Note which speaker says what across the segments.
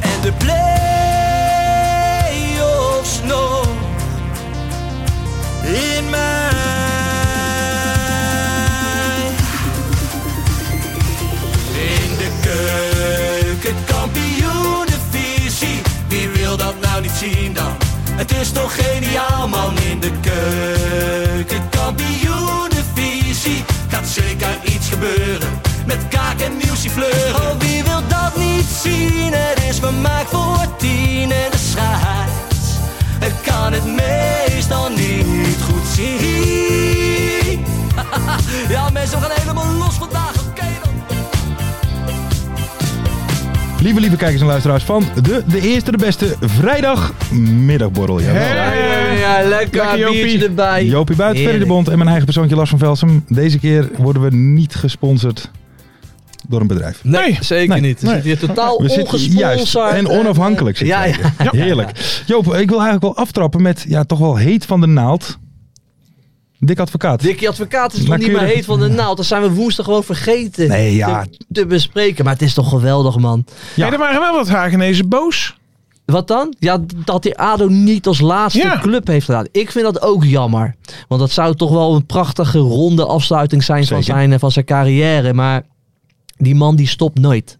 Speaker 1: En de play-offs nog
Speaker 2: In mij.
Speaker 1: in de keuken, kampioenenvisie. Wie wil dat nou niet zien dan? Het is toch geniaal man in de keuken, kampioenenvisie. Gaat zeker iets gebeuren met kaak en nieuwsie fleuren. Oh, wie wil dat niet zien? Het is vermaakt voor tien en de scheids. Ik kan het meestal niet goed zien. ja mensen, we gaan helemaal los vandaag, oké dan.
Speaker 3: Lieve, lieve kijkers en luisteraars van de, de eerste, de beste vrijdagmiddagborrel. Jawel.
Speaker 4: Ja, lekker,
Speaker 3: Lekker, Jopie.
Speaker 4: biertje erbij.
Speaker 3: Jopie Buit, Ferry de Bond en mijn eigen persoontje Lars van Velsum. Deze keer worden we niet gesponsord door een bedrijf.
Speaker 4: Nee, zeker
Speaker 3: nee,
Speaker 4: niet. We
Speaker 3: nee.
Speaker 4: zitten hier totaal
Speaker 3: We zitten juist
Speaker 4: ongesponsord.
Speaker 3: en onafhankelijk zitten
Speaker 4: Ja,
Speaker 3: wij
Speaker 4: ja.
Speaker 3: hier. Heerlijk. Joop, ik wil eigenlijk wel aftrappen met ja, toch wel heet van de naald. Dik advocaat.
Speaker 4: Dikkie Advocaat is nog niet
Speaker 3: Nauwkeurig.
Speaker 4: meer heet van de naald. Dat zijn we woensdag gewoon vergeten
Speaker 3: Nee, ja.
Speaker 4: te, te bespreken. Maar het is toch geweldig, man.
Speaker 3: Ja.
Speaker 5: Hey, er waren wel wat Hagenezen boos.
Speaker 4: Wat dan? Ja, dat die ADO niet als laatste
Speaker 5: Ja.
Speaker 4: club heeft gedaan. Ik vind dat ook jammer. Want dat zou toch wel een prachtige ronde afsluiting zijn van
Speaker 3: Zeker.
Speaker 4: zijn, van zijn carrière. Maar die man die stopt nooit.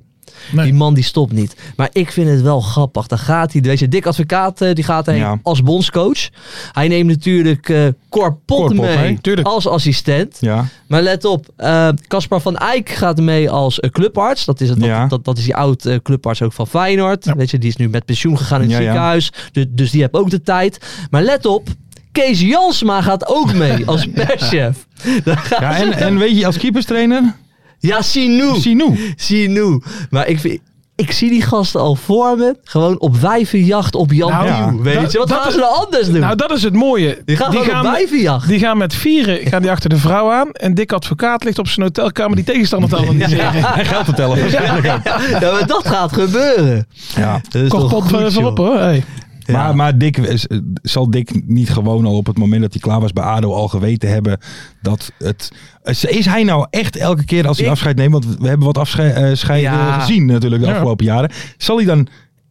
Speaker 5: Nee.
Speaker 4: Die man die stopt niet. Maar ik vind het wel grappig. Dan gaat hij, deze dik advocaat, eh, die gaat heen
Speaker 3: Ja.
Speaker 4: als bondscoach. Hij neemt natuurlijk eh Cor Pot
Speaker 3: Cor Pot
Speaker 4: mee,
Speaker 3: mee, tuurlijk.
Speaker 4: als assistent.
Speaker 3: Ja,
Speaker 4: Maar let op, eh, Caspar van Eyck gaat mee als eh, clubarts. Dat is, het, dat,
Speaker 3: Ja.
Speaker 4: dat, dat is die oud eh, clubarts ook van Feyenoord. Weet je, die is nu met pensioen gegaan in het
Speaker 3: Ja, ja.
Speaker 4: ziekenhuis. Du- dus die heeft ook de tijd. Maar let op, Kees Jansma gaat ook mee als perschef. Dan gaan
Speaker 3: ja
Speaker 4: ze-
Speaker 3: en, en weet je, als keeperstrainer,
Speaker 4: ja Sinou.
Speaker 3: Sinou.
Speaker 4: Sinou. Maar ik vind... Ik zie die gasten al voor me. Gewoon op wijvenjacht op Jan
Speaker 5: Nou,
Speaker 4: Nieuw,
Speaker 3: ja.
Speaker 4: Weet
Speaker 5: Dat-
Speaker 4: je? Wat
Speaker 5: dat
Speaker 4: gaan
Speaker 5: is-
Speaker 4: ze nou anders doen?
Speaker 5: Nou, dat is het mooie.
Speaker 4: die gaan gewoon op wijvenjacht.
Speaker 5: die gaan met vieren gaan die achter de vrouw aan. En Dick Advocaat ligt op zijn hotelkamer die tegenstander te analyseren.
Speaker 3: En geld te tellen.
Speaker 4: Ja, maar dat gaat gebeuren.
Speaker 3: Ja.
Speaker 4: Dat is
Speaker 5: Kocht
Speaker 4: toch
Speaker 5: pot
Speaker 4: goed,
Speaker 5: eh,
Speaker 4: joh.
Speaker 5: voorop hoor. Hey.
Speaker 3: Maar, maar Dick, is- eh, zal Dick niet gewoon al op het moment dat hij klaar was bij ADO al geweten hebben dat het... Is is hij nou echt elke keer als hij
Speaker 4: Ik-
Speaker 3: afscheid neemt, want we hebben wat afscheiden
Speaker 4: Ja.
Speaker 3: gezien natuurlijk de
Speaker 5: Ja.
Speaker 3: afgelopen jaren. Zal hij dan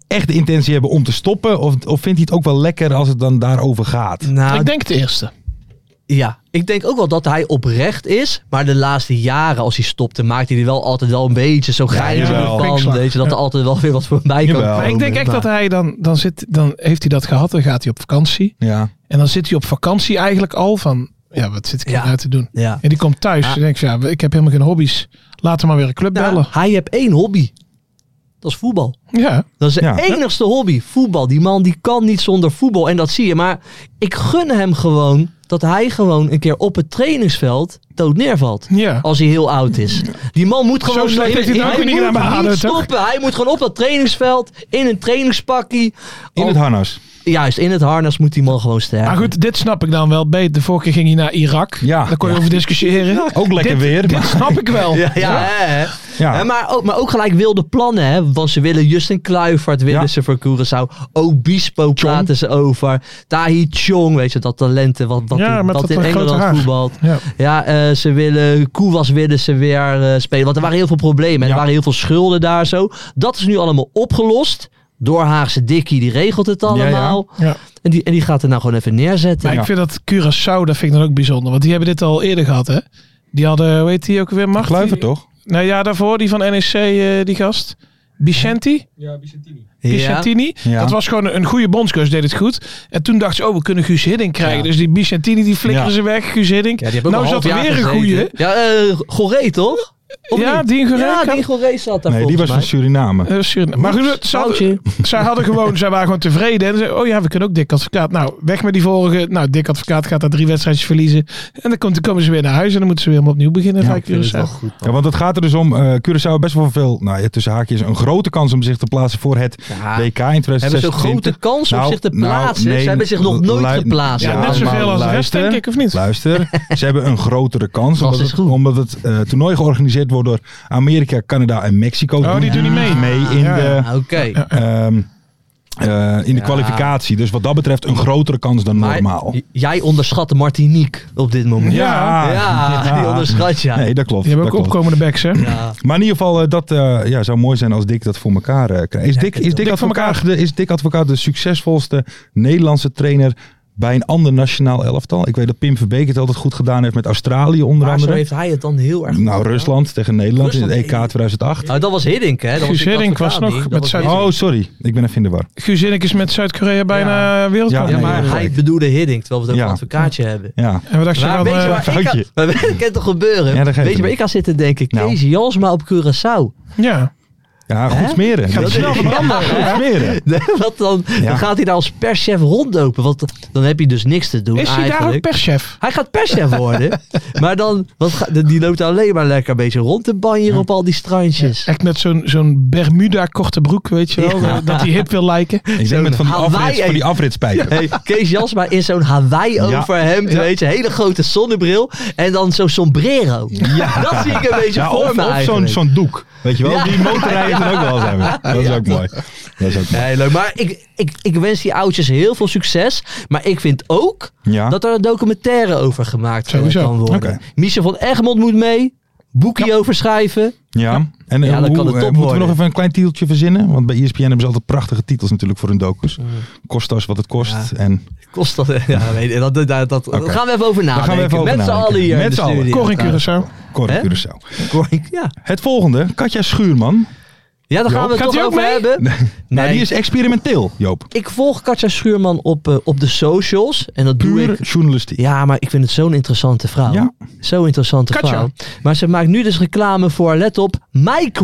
Speaker 3: echt de intentie hebben om te stoppen? Of, of vindt hij het ook wel lekker als het dan daarover gaat?
Speaker 4: Nou,
Speaker 5: ik denk het eerste.
Speaker 4: Ja, ik denk ook wel dat hij oprecht is. Maar de laatste jaren, als hij stopte, maakte hij er wel altijd wel een beetje zo'n geintje
Speaker 3: jawel.
Speaker 4: van.
Speaker 5: Kwinkslag.
Speaker 4: Weet je, dat er altijd wel weer wat voorbij kan
Speaker 3: Jawel.
Speaker 4: komen.
Speaker 5: Maar ik denk echt dat hij dan, dan zit, dan heeft hij dat gehad. Dan gaat hij op vakantie.
Speaker 3: Ja.
Speaker 5: En dan zit hij op vakantie eigenlijk al van, ja wat zit ik hier
Speaker 4: Ja.
Speaker 5: nou te doen?
Speaker 4: Ja.
Speaker 5: En die komt thuis
Speaker 4: Ja.
Speaker 5: en denkt, ja ik heb helemaal geen hobby's. Laten we maar weer een club
Speaker 4: Ja,
Speaker 5: bellen.
Speaker 4: Nou, hij heeft één hobby. Dat is voetbal.
Speaker 5: Ja.
Speaker 4: Dat is de
Speaker 3: Ja.
Speaker 4: enigste hobby, voetbal. Die man die kan niet zonder voetbal en dat zie je. Maar ik gun hem gewoon dat hij gewoon een keer op het trainingsveld dood neervalt.
Speaker 5: Ja.
Speaker 4: Als hij heel oud is. Die man moet gewoon...
Speaker 5: slecht heeft hij het ook niet gedaan bij
Speaker 4: moet
Speaker 5: ADO,
Speaker 4: niet
Speaker 5: toch?
Speaker 4: stoppen. Hij moet gewoon op dat trainingsveld, in een trainingspakkie.
Speaker 3: In
Speaker 4: Oh.
Speaker 3: het harnas.
Speaker 4: Juist, in het harnas moet die man gewoon sterven.
Speaker 5: Maar goed, dit snap ik dan wel beter. De vorige keer ging hij naar Irak.
Speaker 3: Ja.
Speaker 5: Daar kon je over discussiëren.
Speaker 3: Ook lekker
Speaker 5: dit,
Speaker 3: weer.
Speaker 5: Dit
Speaker 3: maar-
Speaker 5: snap ik wel.
Speaker 4: Ja, ja, hè, hè.
Speaker 3: Ja.
Speaker 4: Hè, Maar, ook, maar ook gelijk wilde plannen, hè? Want ze willen Justin Kluivert, willen
Speaker 3: Ja.
Speaker 4: ze voor Curaçao. Obispo praten ze over. Tahi Chong, weet je, dat talenten wat, wat,
Speaker 5: Ja,
Speaker 4: in-
Speaker 5: met
Speaker 4: wat
Speaker 5: dat
Speaker 4: in
Speaker 5: grote
Speaker 4: Engeland
Speaker 5: haar.
Speaker 4: voetbalt.
Speaker 5: Ja.
Speaker 4: Ja, eh, ze willen, Koewas willen ze weer eh, spelen. Want er waren heel veel problemen. en Er
Speaker 3: Ja.
Speaker 4: waren heel veel schulden daar zo. Dat is nu allemaal opgelost. Door Haagse Dikkie, die regelt het
Speaker 3: ja.
Speaker 4: allemaal.
Speaker 5: Ja.
Speaker 4: En, die, en die gaat er nou gewoon even neerzetten.
Speaker 5: Maar ik vind dat Curaçao, dat vind ik dan ook bijzonder. Want die hebben dit al eerder gehad, hè? Die hadden, hoe heet die ook weer? Macht?
Speaker 4: eh,
Speaker 3: Kluivert toch?
Speaker 5: Nou ja, daarvoor die van NEC, E eh, die gast. Bicenti,
Speaker 4: Ja.
Speaker 5: Bicentini.
Speaker 3: Ja.
Speaker 5: Dat was gewoon een goede bondscoach, deed het goed. En toen dacht ze, oh, we kunnen Guus Hiddink krijgen.
Speaker 3: Ja.
Speaker 5: Dus die Bicentini, die flikkeren
Speaker 3: Ja.
Speaker 5: ze weg. Guus Hiddink.
Speaker 4: Ja, die hebben ook
Speaker 5: nou
Speaker 4: een
Speaker 5: zat er
Speaker 4: half jaar
Speaker 5: weer een goede.
Speaker 4: gezeten. Ja, eh Goré toch? Of
Speaker 5: Ja,
Speaker 4: niet?
Speaker 5: die Goré
Speaker 4: Ja,
Speaker 5: kan-
Speaker 4: die Goré zat daar
Speaker 3: Nee, die was van
Speaker 4: volgens
Speaker 3: Suriname.
Speaker 5: Eh, Maar
Speaker 4: mij.
Speaker 5: goed, ze hadden,
Speaker 4: Foutje.
Speaker 5: zij hadden gewoon, zij waren gewoon tevreden. En ze, oh ja, we kunnen ook Dick Advocaat. Nou, weg met die vorige. Nou, Dick Advocaat gaat daar drie wedstrijdjes verliezen. En dan, komt, dan komen ze weer naar huis en dan moeten ze weer helemaal opnieuw beginnen.
Speaker 3: Ja,
Speaker 5: Ja,
Speaker 3: ik vind
Speaker 4: Dat is wel goed.
Speaker 3: Ja, want het gaat er dus om, eh Curaçao heeft best wel veel, nou, ja, tussen haakjes, een grote kans om zich te plaatsen voor het
Speaker 4: Ja.
Speaker 3: WK in
Speaker 4: Hebben
Speaker 3: 2026.
Speaker 4: ze een grote kans om
Speaker 3: Nou,
Speaker 4: zich te
Speaker 3: nou,
Speaker 4: plaatsen?
Speaker 3: nee,
Speaker 4: ze hebben zich nog nooit
Speaker 3: lu-
Speaker 4: geplaatst.
Speaker 3: Ja,
Speaker 5: ja, net
Speaker 3: maar
Speaker 5: zoveel als de rest,
Speaker 3: luister.
Speaker 5: denk ik, of niet?
Speaker 3: Luister, ze hebben een grotere kans.
Speaker 4: Dat
Speaker 3: Omdat
Speaker 4: is
Speaker 3: het,
Speaker 4: goed.
Speaker 3: omdat het eh, toernooi georganiseerd wordt door Amerika, Canada en Mexico.
Speaker 5: Oh, die doen niet mee.
Speaker 3: in
Speaker 5: Ja,
Speaker 3: de,
Speaker 5: ja.
Speaker 4: Ah, Oké.
Speaker 3: ehm, eh, in de
Speaker 4: Ja.
Speaker 3: kwalificatie. Dus wat dat betreft een grotere kans dan
Speaker 4: Maar
Speaker 3: normaal.
Speaker 4: j- jij onderschat Martinique op dit moment.
Speaker 3: Ja.
Speaker 4: Ja,
Speaker 3: Ja.
Speaker 4: die onderschat je.
Speaker 3: Nee, dat klopt.
Speaker 5: Die hebben
Speaker 3: dat
Speaker 5: ook
Speaker 3: klopt.
Speaker 5: opkomende backs, hè?
Speaker 4: Ja.
Speaker 3: Maar in ieder geval, eh, dat eh, ja, zou mooi zijn als Dick dat voor elkaar eh, krijgt. Is Dick, is Dick,
Speaker 5: Dick voor
Speaker 3: advocaat, de, is Dick Advocaat de succesvolste Nederlandse trainer bij een ander nationaal elftal? Ik weet dat Pim Verbeek het altijd goed gedaan heeft met Australië
Speaker 4: Maar
Speaker 3: onder
Speaker 4: zo
Speaker 3: andere.
Speaker 4: heeft hij het dan heel erg.
Speaker 3: Nou, Rusland tegen Nederland in het E EK
Speaker 4: Rusland-
Speaker 3: 2008.
Speaker 4: Nou, dat was Hiddink, hè? Dat
Speaker 5: Guus
Speaker 4: was Dick
Speaker 5: Hiddink was
Speaker 4: Advocaat
Speaker 5: nog
Speaker 4: niet. Dat
Speaker 5: met
Speaker 4: was
Speaker 5: zijn-
Speaker 4: Hiddink.
Speaker 3: Oh, sorry. Ik ben even in de war.
Speaker 5: Guus Hiddink is met Zuid-Korea bijna
Speaker 3: Ja,
Speaker 5: wereldkampioen.
Speaker 4: Ja,
Speaker 3: nee,
Speaker 4: maar
Speaker 3: dat
Speaker 4: hij
Speaker 3: weet ik.
Speaker 4: bedoelde Hiddink, terwijl we het over
Speaker 3: Ja.
Speaker 4: een advocaatje hebben.
Speaker 3: Ja.
Speaker 5: En we dachten
Speaker 4: Maar
Speaker 5: van,
Speaker 4: weet je
Speaker 5: eh,
Speaker 4: waar ik
Speaker 3: foutje.
Speaker 4: aan- maar dat kan toch gebeuren?
Speaker 3: Ja, dat geeft
Speaker 4: weet je waar
Speaker 3: niet.
Speaker 4: ik aan zit te denken?
Speaker 3: Nou.
Speaker 4: Kees Jansma op Curaçao.
Speaker 5: ja.
Speaker 3: Ja, goed
Speaker 4: Hè?
Speaker 3: smeren.
Speaker 4: Gaat
Speaker 3: Dat
Speaker 4: snel
Speaker 3: is-
Speaker 4: veranderen,
Speaker 3: Goed smeren.
Speaker 4: Wat dan, dan gaat hij daar als perschef rondlopen. Want dan heb je dus niks te doen
Speaker 5: Is hij
Speaker 4: eigenlijk.
Speaker 5: daar ook perschef?
Speaker 4: Hij gaat perschef worden. maar dan, wat ga- die loopt alleen maar lekker een beetje rond te banjeren op al die strandjes.
Speaker 5: Echt met zo'n zo'n Bermuda korte broek, weet je wel. eh, Dat hij hip wil lijken.
Speaker 3: Ik denk met van die,
Speaker 4: Hawaii.
Speaker 3: afrits, van die afritspijker.
Speaker 4: Hey, Kees Jasma in zo'n Hawaii
Speaker 3: Ja.
Speaker 4: overhemd, weet je, hele grote zonnebril en dan zo'n sombrero. Dat zie ik een beetje
Speaker 3: Ja,
Speaker 4: voor
Speaker 3: of
Speaker 4: me
Speaker 3: of zo'n
Speaker 4: eigenlijk.
Speaker 3: zo'n doek. Weet je wel,
Speaker 4: Ja.
Speaker 3: die motorrijden er ook wel zijn. Dat is ook mooi. Dat is ook mooi.
Speaker 4: Nee, leuk. Maar ik, ik, ik wens die oudjes heel veel succes. Maar ik vind ook
Speaker 3: Ja.
Speaker 4: dat er een documentaire over gemaakt eh,
Speaker 5: Sowieso.
Speaker 4: kan worden.
Speaker 3: Oké.
Speaker 4: Michel van Egmond moet mee. Boekie over schrijven.
Speaker 3: Ja, en eh,
Speaker 4: Ja, dan
Speaker 3: hoe,
Speaker 4: kan het
Speaker 3: eh,
Speaker 4: top
Speaker 3: moeten we
Speaker 4: worden.
Speaker 3: nog even een klein titeltje verzinnen? Want bij E ESPN hebben ze altijd prachtige titels natuurlijk voor hun docus.
Speaker 5: Mm.
Speaker 3: Kost als wat het kost. En
Speaker 4: Kost dat? Ja, weet je, dat, dat, dat, dat
Speaker 3: Oké.
Speaker 4: gaan we even over nadenken.
Speaker 3: even over
Speaker 4: Met z'n
Speaker 3: nadenken.
Speaker 4: allen hier
Speaker 3: Met
Speaker 4: in de
Speaker 3: z'n allen.
Speaker 4: studio.
Speaker 5: Cor in Curaçao.
Speaker 3: Corrie
Speaker 4: Hè?
Speaker 3: Curaçao.
Speaker 4: Cor- Ja,
Speaker 3: Het volgende, Katja Schuurman.
Speaker 4: ja daar gaan we het
Speaker 5: gaat
Speaker 4: toch
Speaker 5: die ook
Speaker 4: over
Speaker 5: mee?
Speaker 4: hebben.
Speaker 3: Nou, die is experimenteel, Joop.
Speaker 4: Ik volg Katja Schuurman op, eh, op de socials. En dat doe
Speaker 3: Puur
Speaker 4: ik.
Speaker 3: journalistiek.
Speaker 4: Ja, maar ik vind het zo'n interessante vrouw.
Speaker 3: Ja.
Speaker 4: Zo'n interessante
Speaker 5: Katja.
Speaker 4: vrouw. Maar ze maakt nu dus reclame voor, let op,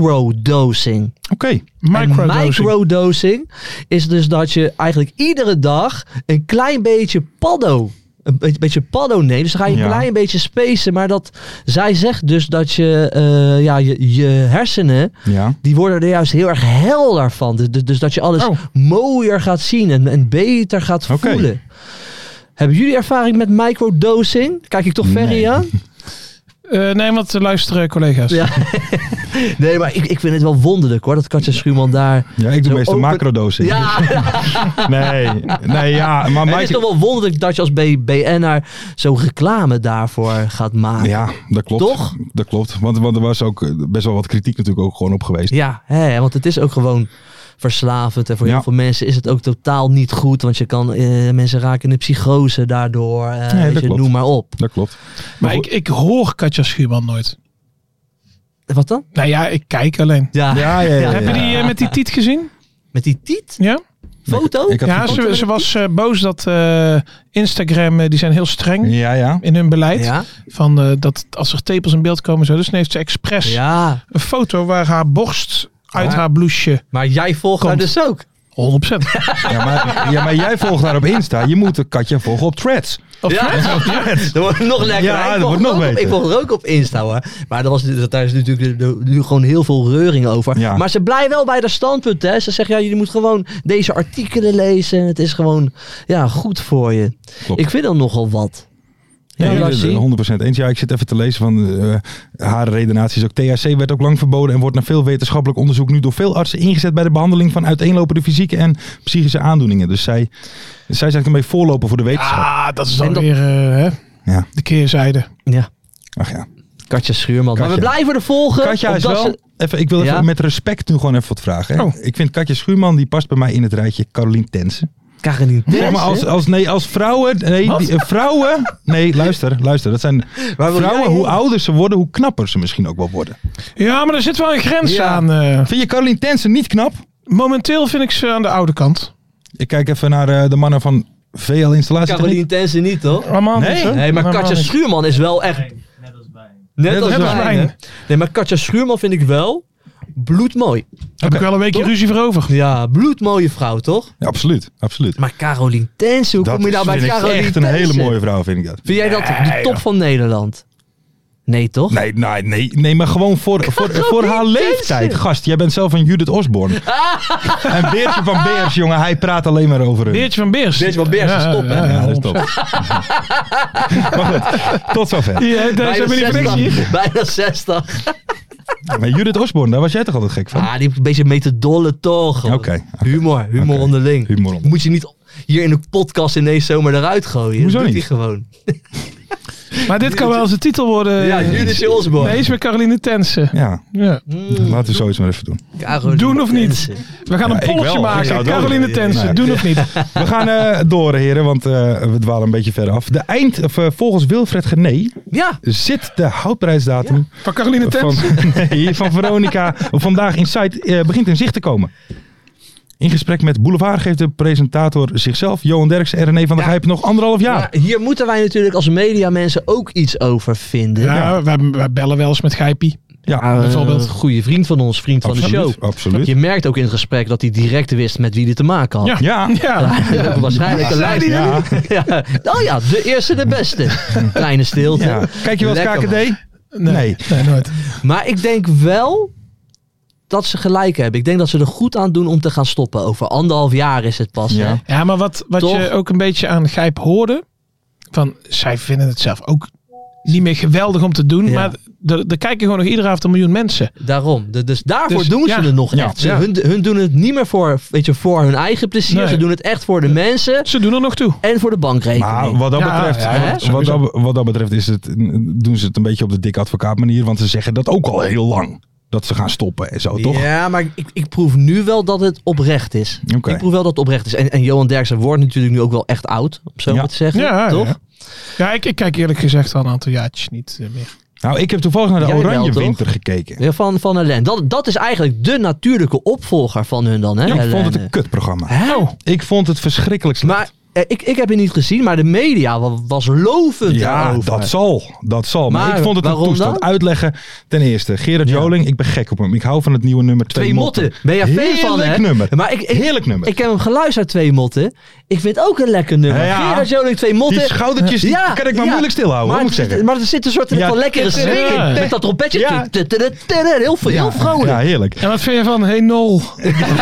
Speaker 4: microdosing.
Speaker 3: Oké.
Speaker 4: En
Speaker 5: Microdosing.
Speaker 4: microdosing is dus dat je eigenlijk iedere dag een klein beetje paddo. Een beetje, beetje paddo neemt. Dus dan ga je een
Speaker 3: Ja.
Speaker 4: klein beetje spacen. Maar dat, zij zegt dus dat je, eh, ja, je, je hersenen.
Speaker 3: Ja.
Speaker 4: Die worden er juist heel erg helder van. Dus, dus- dus dat je alles
Speaker 5: Oh.
Speaker 4: mooier gaat zien en, en beter gaat
Speaker 3: Oké.
Speaker 4: voelen. Hebben jullie ervaring met microdosing? Kijk ik toch Ferry
Speaker 3: Nee.
Speaker 4: aan?
Speaker 5: Eh, nee, want de luisteren collega's.
Speaker 4: Ja. nee, maar ik, ik vind het wel wonderlijk hoor. Dat Katja Schuurman daar...
Speaker 3: Ja, ik doe
Speaker 4: Zo
Speaker 3: meestal
Speaker 4: open-
Speaker 3: macrodosing.
Speaker 4: Ja,
Speaker 3: Nee, nee, ja, maar
Speaker 4: het is toch
Speaker 3: micro...
Speaker 4: wel wonderlijk dat je als B- BN'er zo'n reclame daarvoor gaat maken.
Speaker 3: Ja, dat klopt.
Speaker 4: Toch?
Speaker 3: Dat klopt. Want, want er was ook eh, best wel wat kritiek natuurlijk ook gewoon op geweest.
Speaker 4: Ja, hè, want het is ook gewoon verslavend. En voor
Speaker 3: Ja.
Speaker 4: heel veel mensen is het ook totaal niet goed. Want je kan, eh, mensen raken in de psychose daardoor. eh,
Speaker 3: Nee,
Speaker 4: weet
Speaker 3: dat
Speaker 4: je,
Speaker 3: klopt.
Speaker 4: noem maar op.
Speaker 3: Dat klopt.
Speaker 5: Maar ik, ik hoor Katja Schuurman nooit.
Speaker 4: Wat dan?
Speaker 5: Nou ja, ik kijk alleen.
Speaker 4: Ja,
Speaker 3: Ja, ja, ja.
Speaker 5: Heb je die eh, met die tiet gezien?
Speaker 4: met die tiet?
Speaker 5: Ja?
Speaker 4: Foto?
Speaker 3: Ik had
Speaker 5: Ja,
Speaker 3: gekeken.
Speaker 5: ze, ze was eh, boos dat eh, Instagram, eh, die zijn heel streng
Speaker 3: ja, ja.
Speaker 5: in hun beleid.
Speaker 4: ja.
Speaker 5: Van eh, dat als er tepels in beeld komen, zo. Dus dan heeft ze expres
Speaker 4: ja,
Speaker 5: een foto waar haar borst uit
Speaker 4: Ja.
Speaker 5: haar blouseje. 100%.
Speaker 4: maar jij volgt haar
Speaker 5: Komt.
Speaker 4: dus ook.
Speaker 3: Ja maar, ja, maar jij volgt haar op Insta. Je moet de Katja volgen op Threads.
Speaker 5: Of
Speaker 4: Ja, dat wordt nog lekker.
Speaker 3: Ja, dat
Speaker 4: ik, volg
Speaker 3: wordt nog
Speaker 4: haar ook op,
Speaker 3: beter.
Speaker 4: ik volg haar ook op Insta hoor. Maar dat was, dat, daar is natuurlijk nu- nu gewoon heel veel reuring over.
Speaker 3: Ja.
Speaker 4: Maar ze blijft wel bij dat standpunt. Hè. Ze zegt, ja, jullie moeten gewoon deze artikelen lezen. Het is gewoon ja, goed voor je.
Speaker 3: Klopt.
Speaker 4: Ik vind dat nogal wat. Ja,
Speaker 3: Ja,
Speaker 4: laat zien.
Speaker 3: 100% eens. Ja, ik zit even te lezen van eh, haar redenaties. Ook THC werd ook lang verboden en wordt na veel wetenschappelijk onderzoek nu door veel artsen ingezet bij de behandeling van uiteenlopende fysieke en psychische aandoeningen. Dus zij, zij zijn eigenlijk een beetje voorloper voor de wetenschap.
Speaker 5: Ah, dat is dan
Speaker 4: En dat-
Speaker 5: weer eh, hè,
Speaker 3: Ja.
Speaker 5: de keerzijde.
Speaker 4: Ja,
Speaker 3: Ach ja.
Speaker 4: Katja Schuurman. Maar we
Speaker 3: Katja.
Speaker 4: blijven er volgen.
Speaker 3: Katja is
Speaker 4: omdat
Speaker 3: wel.
Speaker 4: ze-
Speaker 3: Even, ik wil even
Speaker 4: Ja?
Speaker 3: met respect nu gewoon even wat vragen. Hè?
Speaker 5: Oh.
Speaker 3: Ik vind Katja Schuurman die past bij mij in het rijtje Carolien Tensen.
Speaker 4: krijgen niet.
Speaker 3: Zeg maar als, als, nee, als vrouwen... Nee, die- eh, vrouwen... Nee, luister, luister. Dat zijn vrouwen, hoe ouder ze worden, hoe knapper ze misschien ook wel worden.
Speaker 5: Ja, maar er zit wel een grens
Speaker 4: Ja.
Speaker 5: aan. eh.
Speaker 3: Vind je Caroline Tensen niet knap?
Speaker 5: momenteel vind ik ze aan de oude kant.
Speaker 3: Ik kijk even naar eh, de mannen van VL Installatie.
Speaker 4: Caroline Tense niet, toch?
Speaker 5: Allemaal
Speaker 3: Nee.
Speaker 5: niet, hoor.
Speaker 4: Nee, maar
Speaker 5: Allemaal
Speaker 4: Katja
Speaker 5: niet.
Speaker 4: Schuurman is wel echt... Net als
Speaker 3: als
Speaker 4: wij.
Speaker 5: wij.
Speaker 4: hè? Nee, maar Katja Schuurman vind ik wel bloedmooi.
Speaker 5: Heb ik wel een beetje
Speaker 4: Toch?
Speaker 5: ruzie voor over.
Speaker 4: Ja, bloedmooie vrouw, toch?
Speaker 3: Ja, absoluut, absoluut.
Speaker 4: Maar Caroline Tense, hoe
Speaker 3: dat
Speaker 4: kom je nou
Speaker 3: is,
Speaker 4: bij
Speaker 3: vind ik
Speaker 4: Caroline
Speaker 3: echt een hele
Speaker 4: Tense?
Speaker 3: mooie vrouw, vind ik dat.
Speaker 4: Vind jij dat de top van Nederland? Nee, toch?
Speaker 3: Nee, nee, nee, nee, maar gewoon voor, voor, voor haar leeftijd. Gast, jij bent zelf een Judith Osborne. en Beertje van Beers, jongen, hij praat alleen maar over hun.
Speaker 5: Beertje van Beers.
Speaker 4: Beertje van Beers is top, hè?
Speaker 3: Ja, dat is top. maar goed, tot zover.
Speaker 5: Ja, eh, daar zijn we niet voor niks hier.
Speaker 4: 60. Bijna 60.
Speaker 3: Maar Judith Osborne, daar was jij toch altijd gek van?
Speaker 4: Ah, die heeft een beetje metadolle toch?
Speaker 3: Oké.
Speaker 4: Humor, humor
Speaker 3: Oké.
Speaker 4: onderling.
Speaker 3: Humor onderling.
Speaker 4: Moet je niet hier in de podcast ineens zomaar eruit gooien.
Speaker 3: Hoezo
Speaker 4: Dat doet
Speaker 3: niet?
Speaker 4: hij gewoon.
Speaker 5: Maar dit kan wel eens de titel
Speaker 3: Eh,
Speaker 5: worden. eh,
Speaker 4: ja, Judith Osborne.
Speaker 5: Nee, is met Caroline Tensen.
Speaker 3: Ja,
Speaker 5: Ja.
Speaker 3: laten we zoiets maar even doen.
Speaker 4: Caroline
Speaker 5: Doen of niet?
Speaker 4: Tense.
Speaker 5: We gaan
Speaker 3: Ja,
Speaker 5: een
Speaker 3: ik wel.
Speaker 5: polletje
Speaker 3: Ik zou
Speaker 5: maken.
Speaker 3: het wel
Speaker 5: Caroline
Speaker 3: doen.
Speaker 5: Tensen,
Speaker 3: Nee.
Speaker 5: doen of niet?
Speaker 3: We gaan eh, door, heren, want eh, we dwalen een beetje verder af. De eind, of, eh, volgens Wilfred Gené
Speaker 4: Ja,
Speaker 3: zit de houdprijsdatum
Speaker 5: Van Caroline
Speaker 3: van,
Speaker 5: Tensen.
Speaker 3: nee, van Veronica vandaag in site eh, begint in zicht te komen. In gesprek met Boulevard geeft de presentator zichzelf, Johan Derksen en René van der
Speaker 4: Ja.
Speaker 3: Gijp nog anderhalf jaar.
Speaker 4: maar hier moeten wij natuurlijk als media mensen ook iets over vinden.
Speaker 5: Ja, wij, wij bellen wel eens met Gijpie.
Speaker 3: Ja,
Speaker 4: bijvoorbeeld. Een goede vriend van ons, vriend van de
Speaker 3: Eh, absoluut.
Speaker 4: show.
Speaker 3: absoluut.
Speaker 4: Je merkt ook in het gesprek dat hij direct wist met wie hij te maken had.
Speaker 5: Ja.
Speaker 3: Ja,
Speaker 5: Ja.
Speaker 4: Ja, waarschijnlijk een lijst.
Speaker 3: Ja.
Speaker 4: Ja. Oh ja, de eerste de beste. Kleine stilte.
Speaker 3: Ja. Kijk je wel eens
Speaker 4: Lekker,
Speaker 3: KKD?
Speaker 4: man.
Speaker 3: Nee.
Speaker 5: Nee, nooit.
Speaker 4: Maar ik denk wel dat ze gelijk hebben. Ik denk dat ze er goed aan doen om te gaan stoppen. Over anderhalf jaar is het pas.
Speaker 3: Ja.
Speaker 4: hè?
Speaker 5: Ja, maar wat, wat
Speaker 4: Toch?
Speaker 5: je ook een beetje aan Gijp hoorde. Van, zij vinden het zelf ook niet meer geweldig om te doen.
Speaker 4: Ja.
Speaker 5: Maar er er kijken gewoon nog iedere avond een miljoen mensen.
Speaker 4: Daarom. De- dus daarvoor
Speaker 5: Dus,
Speaker 4: doen ze
Speaker 5: ja.
Speaker 4: het nog
Speaker 3: Ja.
Speaker 4: echt. Ze,
Speaker 5: Ja.
Speaker 4: hun, hun doen het niet meer voor, weet je, voor hun eigen plezier.
Speaker 5: Nee.
Speaker 4: Ze doen het echt voor de mensen
Speaker 5: Ze doen er nog toe.
Speaker 4: en voor de bankrekening.
Speaker 3: Maar wat dat
Speaker 5: Ja,
Speaker 3: betreft,
Speaker 5: ja,
Speaker 4: ja,
Speaker 3: wat, wat,
Speaker 5: sowieso.
Speaker 3: dat, wat dat betreft is het, doen ze het een beetje op de dik advocaat manier. Want ze zeggen dat ook al heel lang. Dat ze gaan stoppen en zo, Oh, toch?
Speaker 4: Ja, maar ik, ik proef nu wel dat het oprecht is.
Speaker 3: Oké.
Speaker 4: Ik proef wel dat het oprecht is. En, en Johan Derksen wordt natuurlijk nu ook wel echt oud, om zo
Speaker 3: Ja.
Speaker 4: maar te zeggen.
Speaker 5: Ja, ja,
Speaker 4: toch?
Speaker 5: ja. Ja, ik, ik kijk eerlijk gezegd al een aantal jaartjes niet eh, meer.
Speaker 3: Nou, ik heb toevallig naar de
Speaker 4: Jij wel,
Speaker 3: Oranje
Speaker 4: toch?
Speaker 3: Winter gekeken.
Speaker 4: Ja, van, van Hélène. Dat, dat is eigenlijk de natuurlijke opvolger van hun dan, hè?
Speaker 3: ik vond het
Speaker 4: Hélène.
Speaker 3: een kutprogramma.
Speaker 4: Hè?
Speaker 3: Ik vond het verschrikkelijk slecht.
Speaker 4: Maar eh, ik, ik heb het niet gezien, maar de media wa- was lovend
Speaker 3: ja,
Speaker 4: daarover.
Speaker 3: dat zal. Dat zal. Maar,
Speaker 4: Maar
Speaker 3: ik vond het een
Speaker 4: waarom
Speaker 3: toestand.
Speaker 4: dan?
Speaker 3: Uitleggen ten eerste. Gerard Joling, ik ben gek op hem. Ik hou van het nieuwe nummer Twee,
Speaker 4: Twee motten. Ben je fan van, hè?
Speaker 3: Heerlijk nummer.
Speaker 4: Maar ik, ik,
Speaker 3: Heerlijk nummer.
Speaker 4: ik heb hem geluisterd, Twee Motten. Ik vind het ook een lekker nummer.
Speaker 3: Ja, ja.
Speaker 4: Gerard Joling, Twee Motten.
Speaker 3: Die schoudertjes die
Speaker 4: Ja,
Speaker 3: kan ik maar
Speaker 4: ja.
Speaker 3: moeilijk stilhouden,
Speaker 4: Maar,
Speaker 3: hoor, moet ik
Speaker 4: er zit-
Speaker 3: zeggen.
Speaker 4: maar er zit een soort
Speaker 3: Ja.
Speaker 4: van lekkere swing in.
Speaker 5: Ja.
Speaker 4: Met dat trompetje.
Speaker 3: Ja.
Speaker 4: Tu- tu- tu- tu- tu- Heel, veel- heel vrolijk.
Speaker 3: Ja, heerlijk.
Speaker 5: En wat vind je van Hey Nol?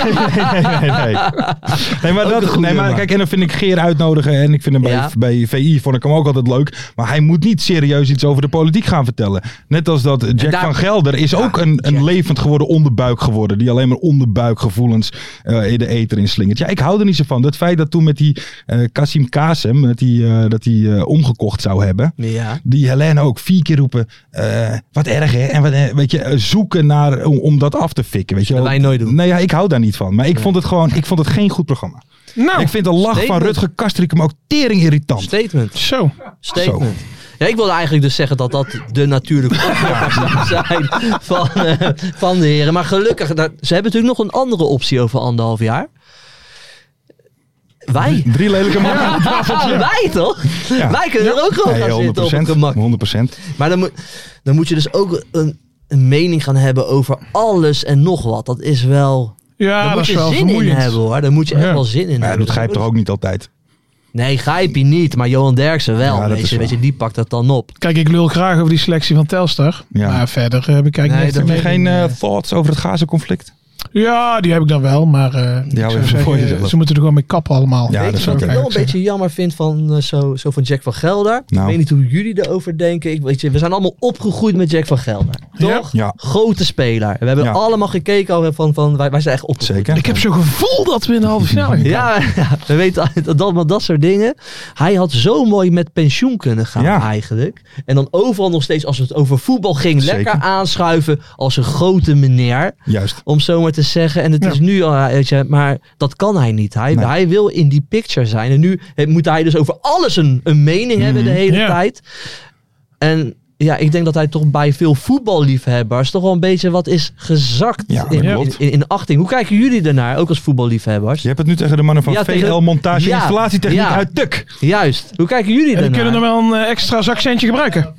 Speaker 3: nee, nee. Nee, maar,
Speaker 4: Ook een
Speaker 3: dat,
Speaker 4: goed
Speaker 3: nee, maar
Speaker 4: nummer.
Speaker 3: kijk, en dan vind ik Geer uitnodigen. En ik vind hem bij,
Speaker 4: Ja.
Speaker 3: bij VI vond ik hem ook altijd leuk. Maar hij moet niet serieus iets over de politiek gaan vertellen. Net als dat Jack
Speaker 4: daar-
Speaker 3: van Gelder is ook een, een levend geworden onderbuik geworden. Die alleen maar onderbuikgevoelens eh, in de eter inslingert. Ja, ik hou er niet zo van. Dat feit dat toen met die eh Kasim Kasem, dat hij eh, dat hij eh, omgekocht zou hebben.
Speaker 4: Ja.
Speaker 3: Die Helene ook vier keer roepen. eh, wat erg hè? En wat, eh, weet je, eh, zoeken naar om, om dat af te fikken. Weet je wel.
Speaker 4: wij nooit doen.
Speaker 3: Nee, ja, ik hou daar niet van. Maar ik vond het gewoon, ik vond het geen goed programma.
Speaker 5: Nou,
Speaker 3: ik vind de lach van
Speaker 4: Oh, statement.
Speaker 3: Rutger Kastrikum ook tering irritant.
Speaker 4: Statement.
Speaker 5: zo.
Speaker 4: Statement. Ja, ik wilde eigenlijk dus zeggen dat dat de natuurlijke opvolger zou zijn van, eh, van de heren. Maar gelukkig, daar- ze hebben natuurlijk nog een andere optie over anderhalf jaar. Wij.
Speaker 3: Drie lelijke mannen.
Speaker 4: Ah, wij toch?
Speaker 3: Ja.
Speaker 4: Wij kunnen er ook gewoon
Speaker 3: Nee,
Speaker 4: gaan zitten op het
Speaker 3: 100%.
Speaker 4: gemak.
Speaker 3: 100%.
Speaker 4: Maar dan moet, dan moet je dus ook een, een mening gaan hebben over alles en nog wat. Dat is wel...
Speaker 5: Ja,
Speaker 4: daar
Speaker 5: dat
Speaker 4: moet
Speaker 5: is
Speaker 4: je
Speaker 5: wel
Speaker 4: zin
Speaker 5: vermoeiend.
Speaker 4: in hebben hoor. Daar moet je echt
Speaker 5: Ja.
Speaker 4: wel zin in
Speaker 3: Maar ja,
Speaker 4: hebben.
Speaker 3: dat grijpt toch ook niet altijd.
Speaker 4: Nee, Gijpie niet, maar Johan Derksen wel.
Speaker 3: Ja, dat
Speaker 4: weet,
Speaker 3: is
Speaker 4: je, weet
Speaker 3: waar.
Speaker 4: je, die pakt dat dan op.
Speaker 5: Kijk, ik lul graag over die selectie van Telstar.
Speaker 3: Ja.
Speaker 5: Maar verder eh, bekijk ik
Speaker 4: Nee,
Speaker 5: niet
Speaker 4: dat
Speaker 5: echt
Speaker 3: Heb je geen
Speaker 5: mee.
Speaker 3: eh, thoughts over het Gaza-conflict?
Speaker 5: Ja, die heb ik dan wel, maar eh, ik
Speaker 3: hou
Speaker 5: zou
Speaker 3: even voor
Speaker 5: zeggen, eh,
Speaker 3: jezelf.
Speaker 5: ze moeten er gewoon mee kappen
Speaker 3: Ja,
Speaker 5: allemaal.
Speaker 3: dat
Speaker 4: Weet
Speaker 3: is
Speaker 4: je wat
Speaker 3: ook
Speaker 4: ik
Speaker 3: erg,
Speaker 4: wel een beetje jammer vind van, eh, zo, zo van Jack van Gelder?
Speaker 3: Nou.
Speaker 4: Ik weet niet hoe jullie erover denken. Ik, weet je, we zijn allemaal opgegroeid met Jack van Gelder.
Speaker 5: Ja.
Speaker 4: Toch?
Speaker 3: Ja.
Speaker 4: Grote speler. We hebben
Speaker 3: Ja.
Speaker 4: allemaal gekeken al van, van wij, wij zijn echt opgegroeid.
Speaker 3: Zeker.
Speaker 5: Ik heb zo'n gevoel dat we in de halve finale gaan.
Speaker 4: Ja, ja, we weten dat, dat, maar dat soort dingen. Hij had zo mooi met pensioen kunnen gaan
Speaker 3: Ja.
Speaker 4: eigenlijk. En dan overal nog steeds, als het over voetbal ging,
Speaker 3: Zeker.
Speaker 4: lekker aanschuiven als een grote meneer.
Speaker 3: Juist.
Speaker 4: Om zo maar te zeggen. En het
Speaker 5: Ja.
Speaker 4: is nu al, eh, weet je, maar dat kan hij niet. Hij,
Speaker 3: Nee.
Speaker 4: hij wil in die picture zijn. En nu eh, moet hij dus over alles een, een mening
Speaker 3: Mhm.
Speaker 4: hebben de hele
Speaker 5: Ja.
Speaker 4: tijd. En ja, ik denk dat hij toch bij veel voetballiefhebbers toch wel een beetje wat is gezakt in,
Speaker 3: Ja, dat
Speaker 4: in,
Speaker 3: klopt.
Speaker 4: in, in achting. Hoe kijken jullie daarnaar, ook als voetballiefhebbers?
Speaker 3: Je hebt het nu tegen de mannen van
Speaker 4: Ja, tegen-
Speaker 3: VL Montage
Speaker 4: Ja,
Speaker 3: Installatietechniek
Speaker 4: ja.
Speaker 3: uit Tuk.
Speaker 4: Juist. Hoe kijken jullie
Speaker 5: En die
Speaker 4: daarnaar?
Speaker 5: kunnen nog wel een eh, extra zakcentje gebruiken.